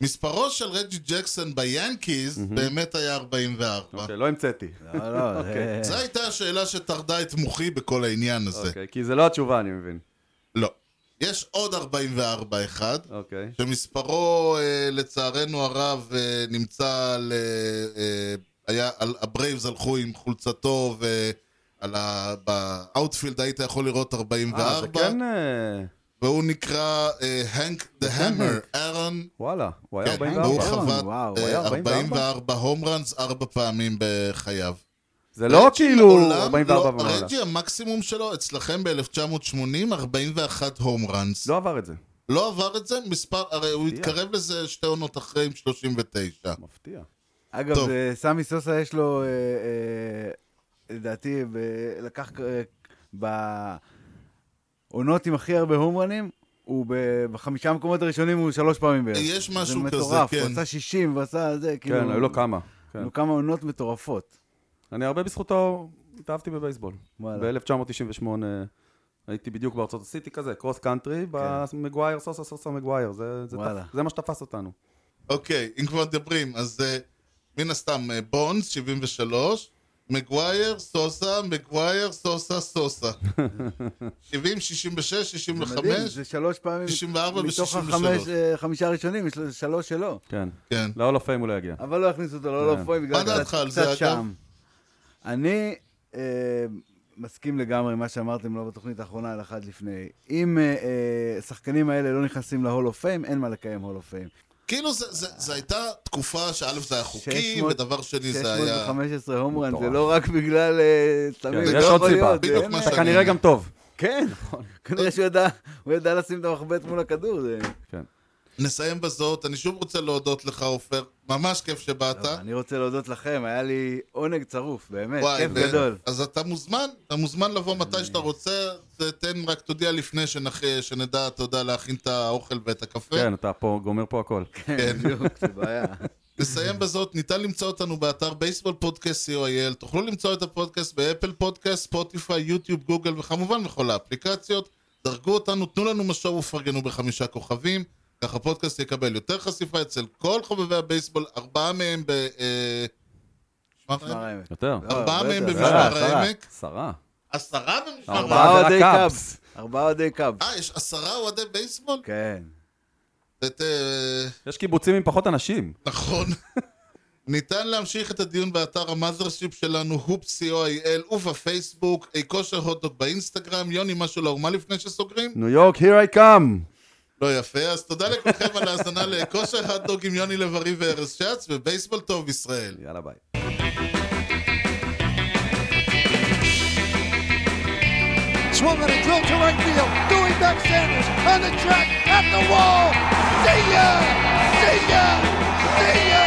[SPEAKER 1] מספרו של רג'י ג'קסון ביאנקיז באמת היה 44.
[SPEAKER 2] אוקיי, לא המצאתי.
[SPEAKER 4] לא, לא, זה-
[SPEAKER 1] זו הייתה השאלה שטרדה את מוחי בכל העניין הזה.
[SPEAKER 2] אוקיי, כי זה לא התשובה, אני מבין.
[SPEAKER 1] לא. יש עוד 44 אחד,
[SPEAKER 2] אוקיי.
[SPEAKER 1] שמספרו אה, לצערנו הרב אה, נמצא על... אה, אה, היה, על, הברייבס הלכו עם חולצתו ועל ה... באאוטפילד היית יכול לראות
[SPEAKER 2] אה, זה
[SPEAKER 1] 44,
[SPEAKER 2] כן... אה,
[SPEAKER 1] והוא נקרא אה, הנק דה המר, אהרון,
[SPEAKER 2] וואלה, כן, אה. הוא היה נכון?
[SPEAKER 1] כן, הוא
[SPEAKER 2] 44.
[SPEAKER 4] אהרון,
[SPEAKER 1] חבט
[SPEAKER 4] וואו,
[SPEAKER 1] אה,
[SPEAKER 2] הוא היה 44?
[SPEAKER 1] 44 הום ראנס ארבע פעמים בחייו.
[SPEAKER 2] זה לא
[SPEAKER 1] רג'י
[SPEAKER 2] כאילו
[SPEAKER 1] מעולם
[SPEAKER 2] 44
[SPEAKER 1] לא-
[SPEAKER 2] ומעלה.
[SPEAKER 1] רג'י המקסימום שלו אצלכם ב-1980, 41 הום ראנס.
[SPEAKER 2] לא עבר את זה.
[SPEAKER 1] לא עבר את זה, מספר, הרי הוא
[SPEAKER 2] מפתיע.
[SPEAKER 1] התקרב לזה שתי עונות אחרי עם 39.
[SPEAKER 2] מפתיע. כן,
[SPEAKER 4] אגב,
[SPEAKER 1] טוב.
[SPEAKER 4] זה- סמי סוסה יש לו, אה, אה, לדעתי, ב- לקח אה, בעונות עם הכי הרבה הומרנים, הוא ב- בחמישה המקומות הראשונים הוא שלוש פעמים בערך.
[SPEAKER 1] יש משהו כזה,
[SPEAKER 4] זה מטורף, הוא
[SPEAKER 1] כן.
[SPEAKER 4] עשה 60 ועשה זה, כאילו...
[SPEAKER 2] כן, היו לו כמה. כן.
[SPEAKER 4] היו כמה עונות מטורפות.
[SPEAKER 2] אני הרבה בזכותו התאהבתי בבייסבול.
[SPEAKER 4] וואלה.
[SPEAKER 2] ב-1998 הייתי בדיוק בארצות הסיטי כזה, קרוס קאנטרי, במגווייר, סוסה סוסה מגווייר, זה- זה
[SPEAKER 4] וואלה.
[SPEAKER 2] תפ- זה מה שתפס אותנו.
[SPEAKER 1] אוקיי, אם כבר מדברים, אז אה, מן הסתם, אה, בונדס, 73, מגווייר, סוסה, מגווייר, סוסה, סוסה. 70, 66,
[SPEAKER 4] זה מדהים,
[SPEAKER 1] 65,
[SPEAKER 4] זה שלוש פעמים.
[SPEAKER 1] 94
[SPEAKER 4] מתוך
[SPEAKER 1] ו- 63.
[SPEAKER 4] החמש, אה, חמישה הראשונים, יש לו שלוש שלו.
[SPEAKER 2] כן.
[SPEAKER 1] כן.
[SPEAKER 2] לא לפעמים הוא לא יגיע.
[SPEAKER 4] אבל לא הכניסו אותו, לא
[SPEAKER 2] כן.
[SPEAKER 4] לאופוי, בגלל
[SPEAKER 1] מה דעתך על זה, אגב?
[SPEAKER 4] אני אה, מסכים לגמרי עם מה שאמרתם לא בתוכנית האחרונה, על אחת לפני. אם אה, אה, השחקנים האלה לא נכנסים להול אוף פיים, אין מה לקיים הול אוף פיים.
[SPEAKER 1] כאילו, זה- זה זה הייתה תקופה שא' זה היה חוקי,
[SPEAKER 4] 600,
[SPEAKER 1] ודבר שני זה היה...
[SPEAKER 4] 615 הומרן, זה
[SPEAKER 2] מטורף.
[SPEAKER 4] לא רק בגלל... אה, סמים,
[SPEAKER 2] כן,
[SPEAKER 4] זה
[SPEAKER 2] יש
[SPEAKER 4] לא
[SPEAKER 2] עוד
[SPEAKER 4] יכול
[SPEAKER 2] סיבה.
[SPEAKER 4] להיות,
[SPEAKER 1] בדיוק
[SPEAKER 4] אין-
[SPEAKER 1] מה
[SPEAKER 2] אתה
[SPEAKER 1] שאני
[SPEAKER 2] כנראה
[SPEAKER 1] אומר.
[SPEAKER 2] גם טוב.
[SPEAKER 4] כן, כנראה שהוא ידע, הוא ידע לשים את המחבט מול הכדור. זה-
[SPEAKER 2] כן.
[SPEAKER 1] נסיים בזאת, אני שוב רוצה להודות לך, עופר, ממש כיף שבאת.
[SPEAKER 4] לא, אני רוצה להודות לכם, היה לי עונג צרוף, באמת,
[SPEAKER 1] וואי,
[SPEAKER 4] כיף
[SPEAKER 1] ו-
[SPEAKER 4] גדול.
[SPEAKER 1] אז אתה מוזמן, אתה מוזמן לבוא מתי שאתה רוצה, תן רק תודיע לפני שנח- שנדע, אתה יודע, להכין את האוכל ואת הקפה.
[SPEAKER 2] כן, אתה פה, גומר פה הכל.
[SPEAKER 4] כן, בדיוק, זה בעיה.
[SPEAKER 1] נסיים בזאת, ניתן למצוא אותנו באתר בייסבול פודקאסט co.il, תוכלו למצוא את הפודקאסט באפל פודקאסט, ספוטיפיי, יוטיוב, גוגל וכמובן בכל האפליקציות. דרגו אותנו, תנו לנו משוב ופרגנו בחמישה כוכבים, כך הפודקאסט יקבל יותר חשיפה אצל כל חובבי הבייסבול, ארבעה מהם ב... אה, משמר העמק?
[SPEAKER 4] משמר העמק.
[SPEAKER 2] יותר.
[SPEAKER 4] לא,
[SPEAKER 1] ארבעה
[SPEAKER 4] הרבה
[SPEAKER 1] מהם
[SPEAKER 4] יותר,
[SPEAKER 1] במשמר
[SPEAKER 4] שרה,
[SPEAKER 2] שרה.
[SPEAKER 1] העמק,
[SPEAKER 2] שרה.
[SPEAKER 1] עשרה במשמר
[SPEAKER 2] אה, ארבעה.
[SPEAKER 1] העולם.
[SPEAKER 2] זה רק
[SPEAKER 4] אוהדי
[SPEAKER 2] קאבס.
[SPEAKER 4] קאבס. ארבעה אוהדי קאבס.
[SPEAKER 1] אה, יש עשרה אוהדי בייסבול?
[SPEAKER 4] כן.
[SPEAKER 1] את, אה,
[SPEAKER 2] יש קיבוצים עם פחות אנשים.
[SPEAKER 1] נכון. ניתן להמשיך את הדיון באתר המאזרשיפ שלנו, הופ.co.il ובפייסבוק, אי כושר הוטדוק באינסטגרם, יוני משהו לאומה לפני שסוגרים?
[SPEAKER 2] ניו יורק, here I come!
[SPEAKER 1] לא יפה, אז תודה לכולכם על ההאזנה לכושר הוטדוק עם יוני לב-ארי וארז שץ, ובייסבול טוב ישראל.
[SPEAKER 2] יאללה ביי.
[SPEAKER 5] Swung and a drill to right field. Doing back Sanders on the track at the wall. See ya! See ya! See ya!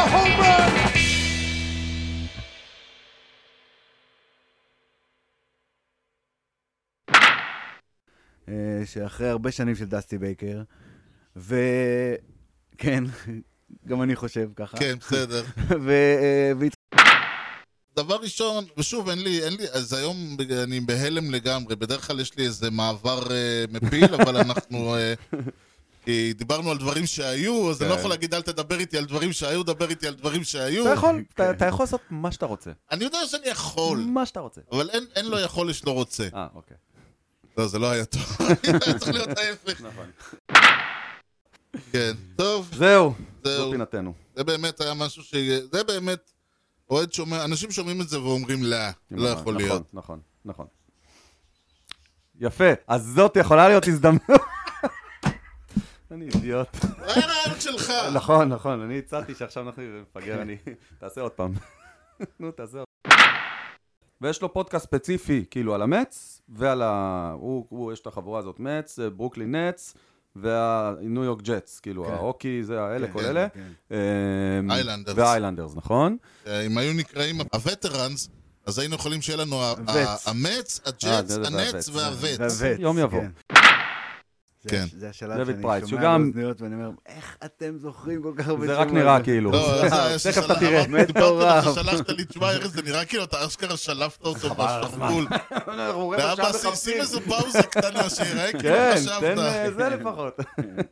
[SPEAKER 5] A home run!
[SPEAKER 4] אה, שאחרי הרבה שנים של דסטי בייקר, וכן, גם אני חושב ככה.
[SPEAKER 1] כן, בסדר.
[SPEAKER 4] ו... אה, והת-
[SPEAKER 1] דבר ראשון, ושוב, אין לי, אין לי, אז היום אני בהלם לגמרי, בדרך כלל יש לי איזה מעבר אה, מפיל, אבל אנחנו... אה, כי דיברנו על דברים שהיו, אז אני לא
[SPEAKER 2] כן.
[SPEAKER 1] יכול להגיד אל תדבר איתי על דברים שהיו, דבר איתי על דברים שהיו.
[SPEAKER 2] אתה יכול, אתה- אתה יכול לעשות מה שאתה רוצה.
[SPEAKER 1] אני יודע שאני יכול,
[SPEAKER 2] מה שאתה רוצה.
[SPEAKER 1] אבל אין, אין לו יכול יש לו רוצה.
[SPEAKER 2] אה, אוקיי.
[SPEAKER 1] לא, זה לא היה טוב. היה צריך להיות ההפך.
[SPEAKER 2] נכון.
[SPEAKER 1] כן, טוב,
[SPEAKER 2] זהו, זו
[SPEAKER 1] זהו.
[SPEAKER 2] פינתנו.
[SPEAKER 1] זה באמת היה משהו ש... זה באמת... אוהד שומע, אנשים שומעים את זה ואומרים לא, לא
[SPEAKER 2] נכון,
[SPEAKER 1] יכול להיות.
[SPEAKER 2] נכון, נכון, נכון. יפה, אז זאת יכולה להיות הזדמנות. אני אידיוט.
[SPEAKER 1] זה היה רעיון שלך.
[SPEAKER 2] נכון, נכון, אני הצעתי שעכשיו אנחנו נפגר, אני... תעשה עוד פעם. נו, תעשה עוד ויש לו פודקאסט ספציפי, כאילו, על המץ, ועל ה... הוא, הוא, יש את החבורה הזאת, מצ, ברוקלין נץ, והניו יורק ג'טס, כאילו,
[SPEAKER 4] כן.
[SPEAKER 2] ההוקי, זה האלה,
[SPEAKER 4] כן,
[SPEAKER 2] כל
[SPEAKER 4] כן,
[SPEAKER 2] אלה.
[SPEAKER 4] כן.
[SPEAKER 2] אמ,
[SPEAKER 1] איילנדרס.
[SPEAKER 2] והאיילנדרס, נכון.
[SPEAKER 1] אה, אם היו נקראים הווטרנס, אז היינו יכולים שיהיה לנו ה-
[SPEAKER 4] הווטס.
[SPEAKER 1] ה- המץ,
[SPEAKER 2] אה,
[SPEAKER 1] הג'אטס,
[SPEAKER 2] זה- זה
[SPEAKER 1] הנץ
[SPEAKER 2] והווטס.
[SPEAKER 1] והווטס.
[SPEAKER 4] והווץ,
[SPEAKER 2] יום יבוא.
[SPEAKER 4] כן. זה-
[SPEAKER 1] כן.
[SPEAKER 4] זה השלב
[SPEAKER 2] דויד
[SPEAKER 4] שאני
[SPEAKER 2] פרייס, שהוא
[SPEAKER 4] שומע
[SPEAKER 2] גם-
[SPEAKER 4] באוזניות ואני אומר, איך אתם זוכרים כל כך הרבה
[SPEAKER 2] זה רק נראה כאילו.
[SPEAKER 1] לא, זה היה
[SPEAKER 2] תכף
[SPEAKER 1] ששלח-
[SPEAKER 2] אתה תראה.
[SPEAKER 1] אמרתי, דיברתי
[SPEAKER 4] מטורף.
[SPEAKER 1] לך, שלחת לי, תשמע, ארז, זה נראה כאילו אתה אשכרה שלפת אותו בשרוול.
[SPEAKER 4] לא,
[SPEAKER 2] אנחנו רבע שעה
[SPEAKER 1] ואבא, שים
[SPEAKER 2] מחפשים.
[SPEAKER 1] איזה פאוזה קטנה שיראה כאילו
[SPEAKER 2] כן,
[SPEAKER 1] חשבת.
[SPEAKER 2] תן אה, זה לפחות.